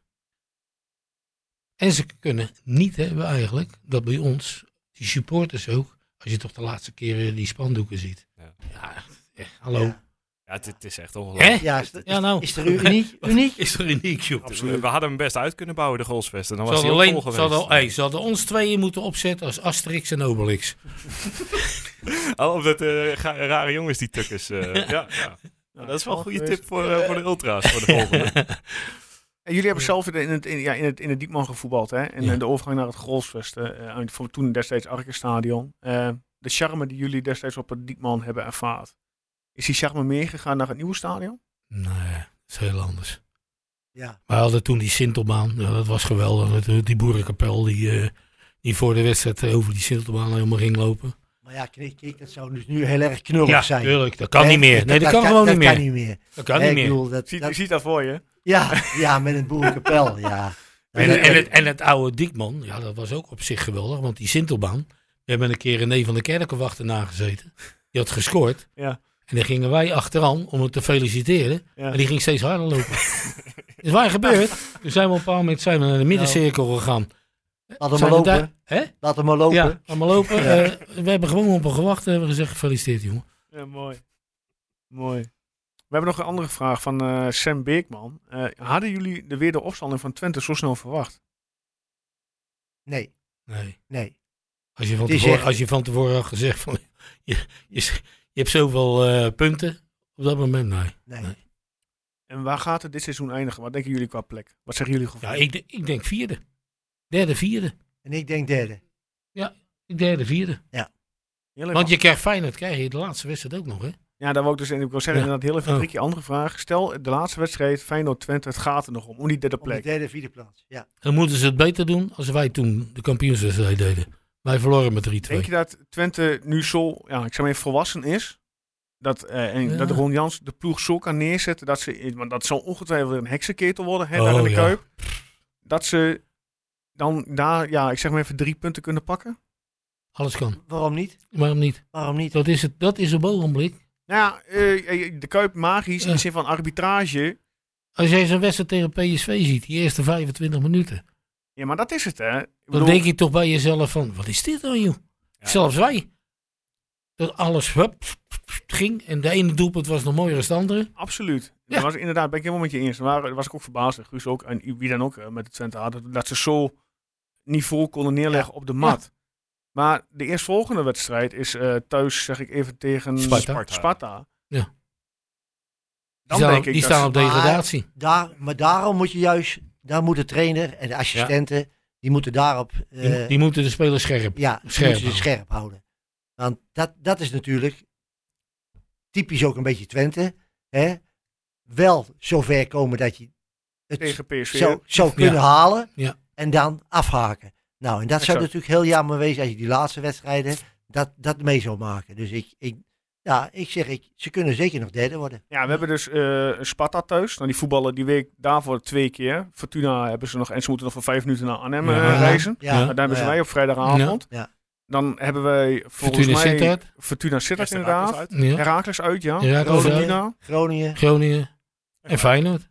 En ze kunnen niet hebben eigenlijk, dat bij ons, die supporters ook, als je toch de laatste keer eh, die spandoeken ziet.
Ja.
Ja, echt, eh, hallo.
Ja.
Ja, het, het is echt ongelooflijk.
Hè?
Ja, is,
Ja, nou.
is er uniek? uniek?
Is er uniek, joh.
Absoluut. Dus, eh, We hadden hem best uit kunnen bouwen, de goalsvesten. Dan
Ze
was hij
hadden,
ook
alleen,
vol
ze,
geweest.
hadden, hey, ze hadden ons tweeën moeten opzetten als Asterix en Obelix.
Oh, omdat eh, ga- rare jongens die tukkers. eh, ja, ja. Nou, dat is wel een goede tip voor, eh, voor de ultra's, voor de volgende.
En jullie hebben zelf in het, in, ja, in het, in het Diekman gevoetbald, hè? En
Ja.
eh, de overgang naar het Grolsvest, eh, eh, uit- voor toen destijds Arkenstadion. Eh de charme die jullie destijds op het Diekman hebben ervaard. Is die charme meegegaan naar het nieuwe stadion?
Nee, dat is heel anders.
Ja,
We hadden toen die Sintelbaan, ja, dat was geweldig. natuurlijk. Die boerenkapel die, eh, die voor de wedstrijd eh, over die Sintelbaan helemaal ging lopen.
maar ja, kijk, kijk, dat zou dus nu heel erg knullig zijn.
tuurlijk. Dat kan
Hè?
niet meer. Nee, dat kan gewoon niet
Dat kan
meer.
niet meer.
Dat kan
Hè,
niet
ik
meer.
bedoel, dat-
Zie,
dat-
je ziet dat voor je?
Ja, ja, met een boerenkapel, ja.
En, en, het, en het oude Diekman, ja, dat was ook op zich geweldig. Want die Sintelbaan, we hebben een keer René van der Kerkhoff achterna gezeten. Die had gescoord.
Ja.
En dan gingen wij achteraan om hem te feliciteren.
Ja.
Maar die ging steeds harder lopen. is waar gebeurd. Toen zijn we op een bepaald moment zijn we naar de middencirkel gegaan.
Nou, Laat hem maar
Zijn we daar-
lopen.
Hè?
Laat hem maar lopen.
Ja, allemaal lopen.
Ja.
Eh, we hebben gewoon op hem gewacht en hebben gezegd gefeliciteerd jongen.
Ja, mooi. Mooi. We hebben nog een andere vraag van eh, Sam Beekman. Eh, hadden jullie de wederopstanding van Twente zo snel verwacht?
Nee,
Nee.
nee.
Als je van,
Die
tevoren,
zegt-
als je van tevoren had gezegd van je, je, je hebt zoveel eh, punten op dat moment, nee.
Nee.
Nee.
En waar gaat het dit seizoen eindigen? Wat denken jullie qua plek? Wat zeggen jullie gevoel?
Ja, ik, de- ik denk vierde. Derde, vierde.
En ik denk derde.
Derde, vierde.
Heerlijk,
Want je krijgt Feyenoord, krijg je de laatste wedstrijd ook nog, hè?
Ja, daar wou ik dus en ik wil zeggen,
Ja.
inderdaad, heel even
Oh.
een prikje andere vraag. Stel, de laatste wedstrijd, Feyenoord-Twente, het gaat er nog om, om die derde
Op de
plek.
derde, vierde plaats. Ja.
Dan moeten ze het beter doen als wij toen de kampioenswedstrijd deden. Wij verloren met 3-2.
Denk je dat Twente nu zo, ja, ik zeg maar even volwassen is? Dat, eh, en
Ja.
dat Ron Jans de ploeg zo kan neerzetten, dat ze, want dat zal ongetwijfeld een heksenketel worden, hè,
Oh,
daar in de
ja.
Kuip. Dat ze dan daar, ja, ik zeg maar even drie punten kunnen pakken?
Alles kan.
Waarom niet?
Waarom niet?
Waarom niet?
Dat is, het, dat is op het ogenblik.
Nou ja, eh, eh, de Kuip magisch in
Ja.
de zin van arbitrage.
Als jij zo'n wedstrijd tegen PSV ziet, die eerste 25 minuten.
Ja, maar dat is het, hè? Ik
Dan
bedoel,
denk je toch bij jezelf van, wat is dit dan joh?
Ja.
Zelfs wij. Dat alles hup, pff, pff, ging en de ene doelpunt was nog mooier dan het andere.
Absoluut.
Ja.
Dat was inderdaad, ben ik helemaal met je eens. eh, Daar waren- was ik ook verbaasd. Guus ook en wie dan ook eh, met het Twente had. dat- Dat ze zo niveau konden neerleggen op de mat. Maar de eerstvolgende wedstrijd is eh, thuis, zeg ik even, tegen
Sparta.
Sparta.
Sparta.
Ja. Die
Dan
staan,
denk ik
die
dat
staan
ze-
op
Maar-
degradatie.
Daar, maar daarom moet je juist, daar moet de trainer en de assistenten, die moeten daarop, eh,
Die, die moeten de spelers scherp.
ja, die
scherp
moeten ze
houden.
scherp houden. Want dat, dat is natuurlijk typisch ook een beetje Twente. Hè? Wel zover komen dat je het
tegen PSV.
zo, zo kunnen
Ja.
halen
Ja.
en dan afhaken. Nou, en dat zou
Exact.
natuurlijk heel jammer wezen als je die laatste wedstrijden dat, dat mee zou maken. Dus ik, ik, ja, ik zeg, ik, ze kunnen zeker nog derde worden.
Ja, we hebben dus eh, Sparta thuis. Nou, die voetballen die week daarvoor twee keer. Fortuna hebben ze nog en ze moeten nog voor vijf minuten naar Arnhem eh,
Ja.
reizen.
Ja,
Nou, daar hebben ze
ja.
wij op vrijdagavond.
Ja. Ja.
Dan hebben wij volgens
Fortuna
mij
Sittard.
Fortuna Sittard
Eerste
inderdaad.
Raakles uit.
Ja.
Herakles uit, ja.
Heracles
Rode
uit.
Mina.
Groningen.
Groningen en Feyenoord.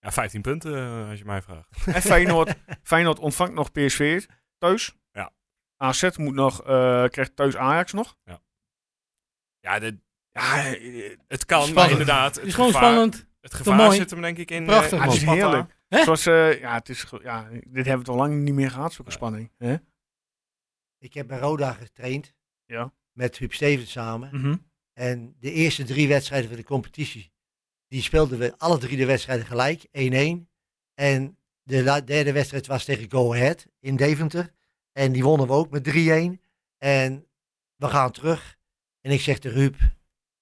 Ja, 15 punten, eh, als je mij vraagt.
En Feyenoord, Feyenoord ontvangt nog PSV thuis.
Ja.
AZ moet nog, eh, krijgt thuis Ajax nog.
Ja, de-
Ja, eh,
het kan, maar
Spannend.
inderdaad. Het
Het is gewoon
gevaar,
spannend.
Het gevaar
Mooi.
zit hem denk ik in. eh,
Prachtig,
in
man.
het is
Sparta.
heerlijk.
Hè?
Zoals, eh, ja, het is, ge- ja, dit hebben we al lang niet meer gehad, zulke spanning. Hè?
Ik heb bij Roda getraind.
Ja.
Met Huub Stevens samen. En de eerste drie wedstrijden van de competitie, die speelden we alle drie de wedstrijden gelijk, 1-1. En de la- derde wedstrijd was tegen Go Ahead in Deventer. En die wonnen we ook met 3-1. En we gaan terug. En ik zeg tegen Huub,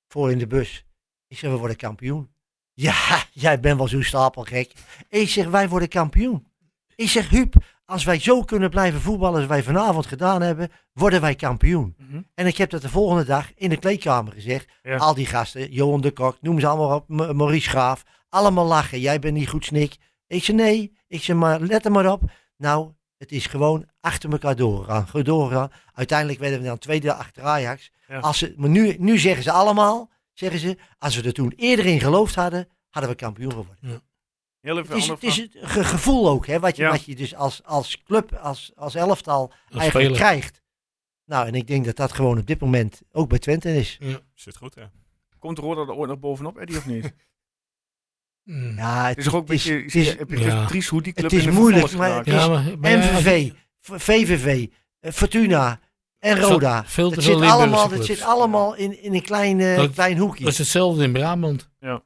voor in de bus. Ik zeg, we worden kampioen. Ja, jij bent wel zo'n stapelgek. Ik zeg, wij worden kampioen. Ik zeg, Huub, als wij zo kunnen blijven voetballen als wij vanavond gedaan hebben, worden wij kampioen.
Mhm.
En ik heb dat de volgende dag in de kleedkamer gezegd.
Ja.
Al die gasten, Johan de Kok, noem ze allemaal op, Ma- Maurice Graaf. Allemaal lachen, jij bent niet goed, Snik. Ik zei, nee. Ik zei, maar let er maar op. Nou, het is gewoon achter elkaar doorgaan. goed doorgaan. Uiteindelijk werden we dan tweede achter Ajax.
Ja.
Als ze, maar nu, nu zeggen ze allemaal, zeggen ze, als we er toen eerder in geloofd hadden, hadden we kampioen geworden.
Heel even
Het is,
andere
het is
vraag.
het ge- gevoel ook, hè, wat, je,
Ja.
wat je dus als, als club, als, als elftal
Als
eigenlijk
speler.
krijgt. Nou, en ik denk dat dat gewoon op dit moment ook bij Twente is.
Zit goed, ja.
Komt Roda er ooit nog bovenop, Eddie, of niet?
Mm.
Ja,
Het is toch ook een beetje
het is-
het is
ja.
triest hoe die club
Het is
in de
moeilijk,
verval is
maar het
geraakt.
Ja, maar, maar ja,
MVV, v- VVV, eh, Fortuna en
Zo-
Roda.
veel te
het
veel
zit
Limburgse
allemaal, het
clubs.
zit allemaal in, in een klein, eh,
Dat-
klein hoekje.
dat is hetzelfde in Brabant.
Ja.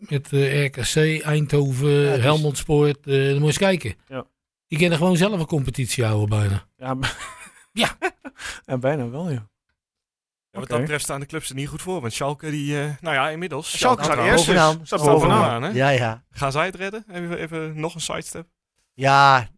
Met eh, RKC, Eindhoven,
het is-
Helmond Sport. eh, dan moet je eens kijken.
Ja.
Die kunnen gewoon zelf een competitie houden bijna.
Ja, b-
Ja.
ja, bijna wel, ja.
Ja, wat
Oké.
dat betreft staan de clubs er niet goed voor. Want Schalke, die, eh, nou ja, inmiddels.
Schalke staat
trouwens.
eerst.
bovenaan.
Staat
Staat
bovenaan.
bovenaan, hè?
Ja, ja.
Gaan zij het redden? Even, even nog een sidestep.
Ja,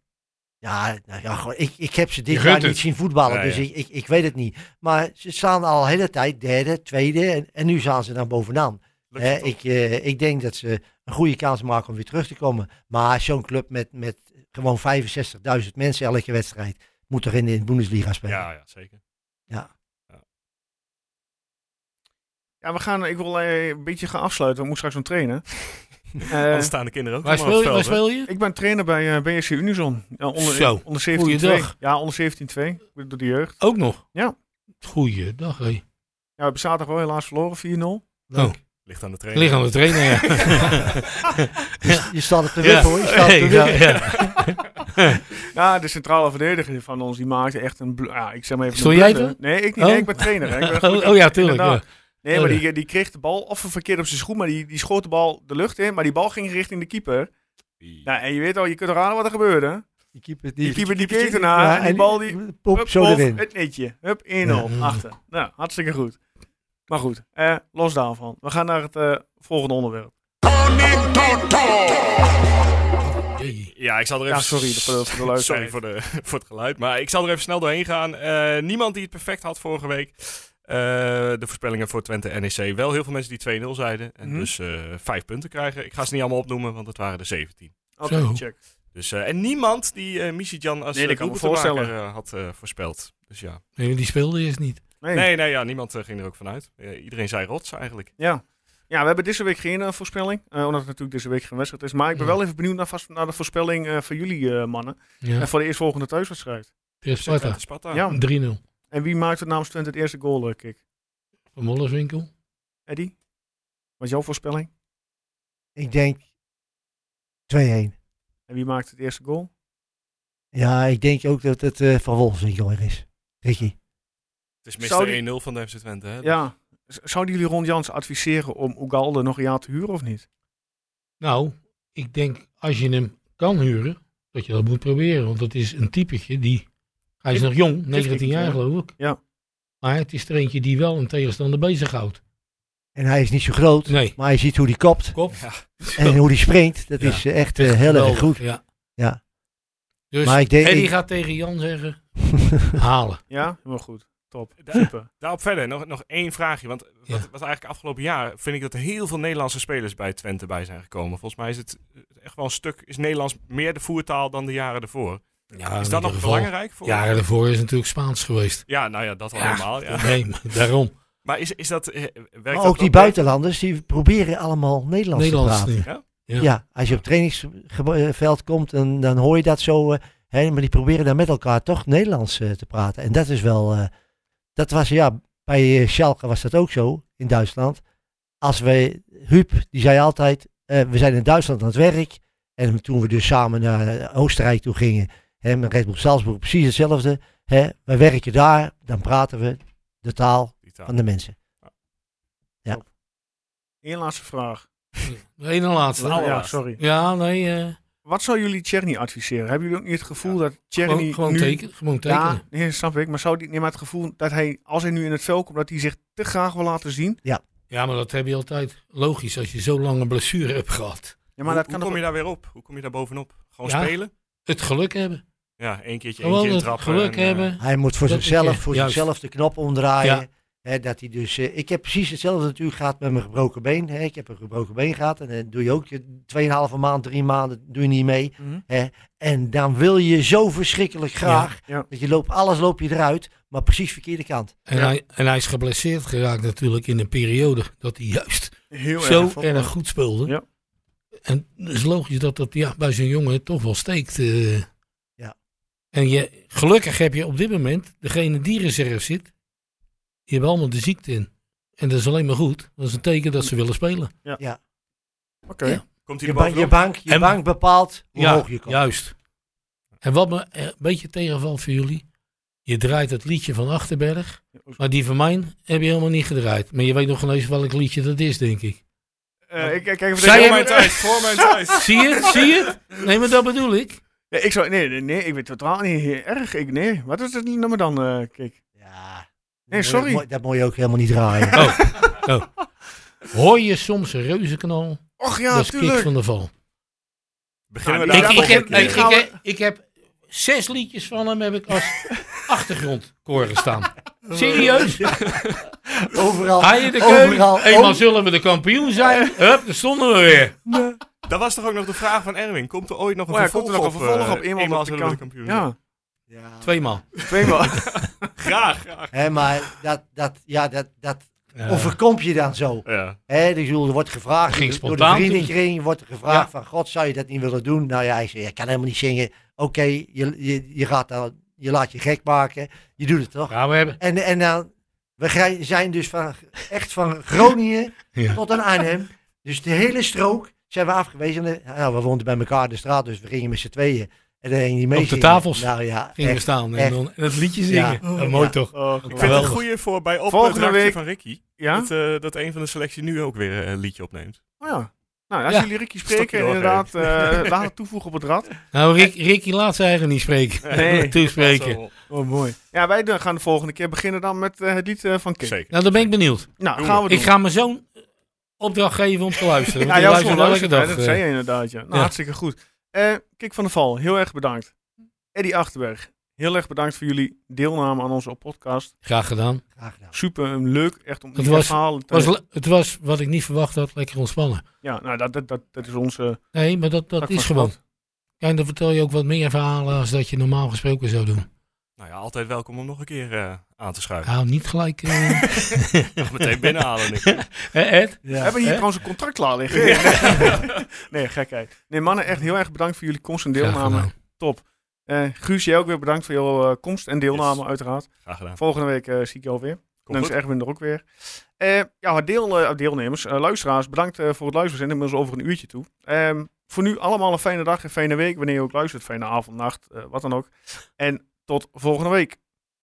ja, nou ja gewoon, ik, ik heb ze
Je
dit
gunt
jaar niet
het.
zien voetballen,
Ja,
dus
ja.
Ik, ik, ik weet het niet. Maar ze staan al de hele tijd derde, tweede en, en nu staan ze dan bovenaan.
Lukt
Hè,
het toch?
ik, eh, ik denk dat ze een goede kans maken om weer terug te komen. Maar zo'n club met, met gewoon 65.000 mensen elke wedstrijd moet toch in de Bundesliga spelen.
ja, ja, zeker.
Eh,
Ja, we gaan, ik wil eh, een beetje gaan afsluiten. We moeten straks nog trainen. Eh,
Anders staan de kinderen ook
Waar
helemaal
speel, je,
op
waar
het veld,
speel je?
ik ben trainer bij eh, BSC Unison. Ja, onder,
Zo,
onder
goeiedag.
17-2. Ja, onder 17-2. Door de jeugd.
Ook nog?
Ja.
Goeiedag, hé.
Ja, we hebben zaterdag wel helaas verloren, 4-0.
Oh,
hè? Ligt aan de trainer.
ligt aan de trainer, ja.
Je, je staat op de weg hoor, je staat op de
Hey,
weg.
ja, ja.
Ja, de centrale verdediger van ons, die maakte echt een... blu- Ja, ik zeg maar even
Stond
een
jij
blunder.
er?
Nee, ik niet.
Oh.
Nee, ik ben trainer. hè. Ik ben
Oh, oh ja, tuurlijk.
Inderdaad.
Ja.
Nee,
Oh,
maar
ja.
die, die kreeg de bal of verkeerd op zijn schoen, maar die, die schoot de bal de lucht in, maar die bal ging richting de keeper. Nou, en je weet al, je kunt raden wat er gebeurde.
Die keeper
Die keeper die keek ernaar en die bal die...
Pop,
hup,
zo
pof,
erin.
Het netje. Hup, 1-0,
Ja.
achter. Nou, hartstikke goed. Maar goed, eh, los daarvan. We gaan naar het eh, volgende onderwerp.
Jee.
Ja, ik zal er
Ja,
even...
sorry voor de- voor de luisteraar.
Sorry voor, de, voor het geluid. Maar ik zal er even snel doorheen gaan. Eh, niemand die het perfect had vorige week. Eh, de voorspellingen voor Twente en NEC. Wel heel veel mensen die 2-0 zeiden. En
Mhm.
dus eh, vijf punten krijgen. Ik ga ze niet allemaal opnoemen, want het waren er 17.
Oké,
Zo.
check.
Dus, eh, en niemand die eh Misijan als
Nee,
nee,
dat kan ik me voorstellen.
had eh, voorspeld. Dus ja.
Nee, maar die speelde eerst niet.
Nee.
Nee, nee, ja, niemand eh, ging er ook vanuit. Eh, iedereen zei rots eigenlijk.
Ja. ja, we hebben deze week geen eh, voorspelling, eh, omdat het natuurlijk deze week geen wedstrijd is. Maar ik ben
Ja.
wel even benieuwd naar, vast, naar de voorspelling eh, van jullie eh, mannen.
Ja,
En voor de eerstvolgende thuiswedstrijd.
tegen Sparta.
Sparta.
Ja.
3-0.
En wie maakt het namens Twente het eerste goal, eh, Kik?
Van Mollerswinkel.
Eddie? Wat is jouw voorspelling?
Ik denk 2-1.
En wie maakt het eerste goal?
Ja, ik denk ook dat het eh, Van Wolfswinkel weer is. Ricky.
Het is
Zou
Mr.
die-
1-0 van de FC Twente. Hè?
Ja. Z- Zouden jullie Ron Jans adviseren om Ugalde nog een jaar te huren of niet?
Nou, ik denk als je hem kan huren, dat je dat moet proberen. Want dat is een typetje die. Hij is
Dit-
nog jong,
dit is
19
ik,
jaar
ja.
geloof ik.
Ja.
Maar het is er eentje die wel een tegenstander bezighoudt.
En hij is niet zo groot,
Nee.
maar je ziet hoe die kopt
Kop.
Ja.
en hoe die springt. Dat
Ja.
is eh, echt eh, heel erg goed.
Ja.
Ja.
Dus
Maar ik denk-
Eddie
ik-
gaat tegen Jan zeggen: halen.
Ja, helemaal goed. Top.
Da-
Super.
Daarop verder, nog, nog één vraagje. Want wat,
Ja.
wat eigenlijk afgelopen jaar vind ik dat er heel veel Nederlandse spelers bij Twente bij zijn gekomen. Volgens mij is het eh, echt wel een stuk, is Nederlands meer de voertaal dan de jaren ervoor.
Ja,
is
in
dat
ieder
nog
geval.
belangrijk voor?
Jaren daarvoor is natuurlijk Spaans geweest.
Ja, nou ja, dat al
Ja.
helemaal. Ja.
Nee, maar daarom.
Maar is, is dat, eh, werkt dat
Maar ook die
mee?
buitenlanders, die proberen allemaal Nederlands,
Nederlands.
te praten.
niet.
Ja.
Ja.
als je op trainingsveld komt, dan, dan hoor je dat zo. eh, hè, maar die proberen dan met elkaar toch Nederlands eh, te praten. En dat is wel... eh, dat was, ja, bij eh, Schalke was dat ook zo, in Duitsland. Als wij... Huub, die zei altijd, eh, we zijn in Duitsland aan het werk. En toen we dus samen naar eh, Oostenrijk toe gingen, hè, met Red Bull Salzburg, precies hetzelfde. Hè, we werken daar, dan praten we de taal
Die taal.
van de mensen.
Eén laatste vraag.
De ene laatste.
Ja, sorry.
Ja, nee. eh,
Wat zou jullie Tjerni adviseren? Hebben jullie ook niet het gevoel dat Tjerni
gewoon, gewoon
nu...
tekenen. Gewoon tekenen.
Ja, nee, snap ik. Maar zou die, nee, maar het gevoel dat hij, als hij nu in het veld komt, dat hij zich te graag wil laten zien?
Ja.
Ja, maar dat heb je altijd. Logisch, als je zo lang een blessure hebt gehad.
Ja, maar
hoe
dat kan
hoe kom
toch
je daar weer op? Hoe kom je daar bovenop? Gewoon
Ja.
spelen?
Het geluk hebben.
Ja, één keertje, één
Gewoon
keer
het
trappen.
geluk
en, eh,
hebben.
Hij moet voor
Dat is,
zichzelf,
eh,
voor
juist.
zichzelf de knop omdraaien.
Ja.
Hè, dat hij dus, eh, ik heb precies hetzelfde natuurlijk gehad met mijn gebroken been. Hè. Ik heb een gebroken been gehad en dan doe je ook je 2,5 maand, 3 maanden, doe je niet mee.
Mhm.
Hè. En dan wil je zo verschrikkelijk graag,
ja.
dat je loopt, alles loop je eruit, maar precies verkeerde kant.
En,
Ja.
hij, en hij is geblesseerd geraakt natuurlijk in een periode dat hij juist
heel
zo
erg
erg, goed speelde.
Ja.
En het is logisch dat dat ja, bij zo'n jongen toch wel steekt. eh.
Ja.
En je, gelukkig heb je op dit moment, degene die reserve zit, die hebben allemaal de ziekte in. En dat is alleen maar goed. Dat is een teken dat ze willen spelen.
Oké.
Ja.
Komt hij
Je,
er
bank, je,
bovenop?
bank, je
En-
bank bepaalt hoe
ja,
hoog je komt.
juist. En wat me eh, een beetje tegenvalt voor jullie, je draait het liedje van Achterberg, maar die van mij heb je helemaal niet gedraaid. Maar je weet nog niet eens welk liedje dat is, denk ik.
Eh, ik, ik, kijk even
Zij
tegen-
Voor mijn tijd, voor mijn tijd.
Zie je het? Zie je het? Nee, maar dat bedoel ik.
Ja, ik zou, nee, nee, nee, ik weet totaal niet heel erg. Ik, nee, wat is het nummer dan, eh Kik?
Ja.
Nee, sorry.
Dat moet, je- dat moet je ook helemaal niet draaien.
Hoor je soms een reuzenknal?
Och ja,
dat is kick
tuurlijk.
van de val.
Beginnen
Ja,
we
Ik,
daar eh,
dat
ik,
is
volgende
heb,
wel
keer.
ik,
een keer.
ik heb, ik heb zes liedjes van hem heb ik als achtergrondkoren staan. Serieus?
Overal.
Haaien de keuken.
Overal.
Eenmaal zullen we de kampioen zijn. Hup, daar stonden we weer.
Daar was toch ook nog de vraag van Erwin. Komt er ooit nog een
Oh ja,
vervolg
komt er nog een
op,
vervolg
eh,
op? Eenmaal dat
zullen
kan-
we de kampioen zijn?
Ja,
Ja.
Tweemaal.
tweemaal.
Graag, graag.
Hè, maar dat, dat, ja, dat, dat
Ja.
overkomt je dan zo.
Ja.
Hè, dus ik bedoel, er wordt
Dat
gevraagd
ging
door de
spontaan
vriendenkring, wordt er gevraagd
Ja.
van God, zou je dat niet willen doen? Nou ja, hij zei, ik kan helemaal niet zingen. Oké, je, je, je, gaat dan, je laat je gek maken, je doet het toch?
Ja, we hebben...
En, en dan, we grij- zijn dus van, echt van Groningen
Ja.
tot aan Arnhem. Dus de hele strook zijn we afgewezen. En, eh, Nou, we woonden bij elkaar in de straat, dus we gingen met z'n tweeën. En dan ging die mee
Op de
zingen.
tafels
Nou ja,
Gingen we
echt.
staan en
echt.
dan het liedje zingen.
Ja.
Ja, mooi
Ja.
toch?
Oh,
Ik vind het
Geweldig.
een goeie voor bij op
Volgende
het drankje
week-
van Ricky.
ja?
Dat, eh, dat een van de selectie nu ook weer eh, een liedje opneemt.
Oh ja. Nou, als
Ja.
jullie Ricky
Stokje
spreken,
doorgeven.
inderdaad, eh, laat het toevoegen op het rad.
Nou, Rick, Ricky laat ze eigenlijk niet spreken.
Nee.
Toespreken.
Zo,
Oh, mooi. Ja, wij doen- gaan de volgende keer beginnen dan met eh, het lied eh, van Kik.
Zeker.
Nou, dan ben ik benieuwd.
Nou,
Doen
gaan we doen.
Ik ga mijn zoon opdracht geven om te luisteren.
ja,
Want
jij
hij
was gewoon
luistert elke
luisteren, hè, dat
dag. eh.
zei je inderdaad, ja. Nou,
ja.
hartstikke goed. Eh Kik van der Val, heel erg bedankt. Eddie Achterberg, heel erg bedankt voor jullie deelname aan onze podcast.
Graag gedaan.
Graag gedaan.
Super eh, leuk, echt om
Het
die
was-
verhalen te...
Het was, het was wat ik niet verwacht had, lekker ontspannen.
ja, nou, dat, dat, dat, dat is onze...
Nee, maar dat,
tak
dat
van
is gewoon.
sport.
Ja, en dan vertel je ook wat meer verhalen als dat je normaal gesproken zou doen.
Nou ja, altijd welkom om nog een keer eh, aan te schuiven.
Nou, niet gelijk. eh,
Nog meteen binnenhalen. Nick.
hè, Ed?
We hebben hier
Hè?
trouwens een contract klaar liggen. nee, gekheid. Nee, mannen, echt heel erg bedankt voor jullie komst en
Graag
deelname.
gedaan.
Eh, Guus, jij ook weer bedankt voor jouw eh, komst en deelname,
Yes.
uiteraard.
Graag gedaan.
Volgende week eh, zie ik jou weer.
Komt
Dan is
goed.
Erwin er ook weer. Eh, ja, deel, eh, deelnemers, eh, luisteraars, bedankt eh, voor het luisteren. We zijn inmiddels over een uurtje toe. Ehm, voor nu allemaal een fijne dag en fijne week. Wanneer je ook luistert, fijne avond, nacht, eh, wat dan ook. En tot volgende week.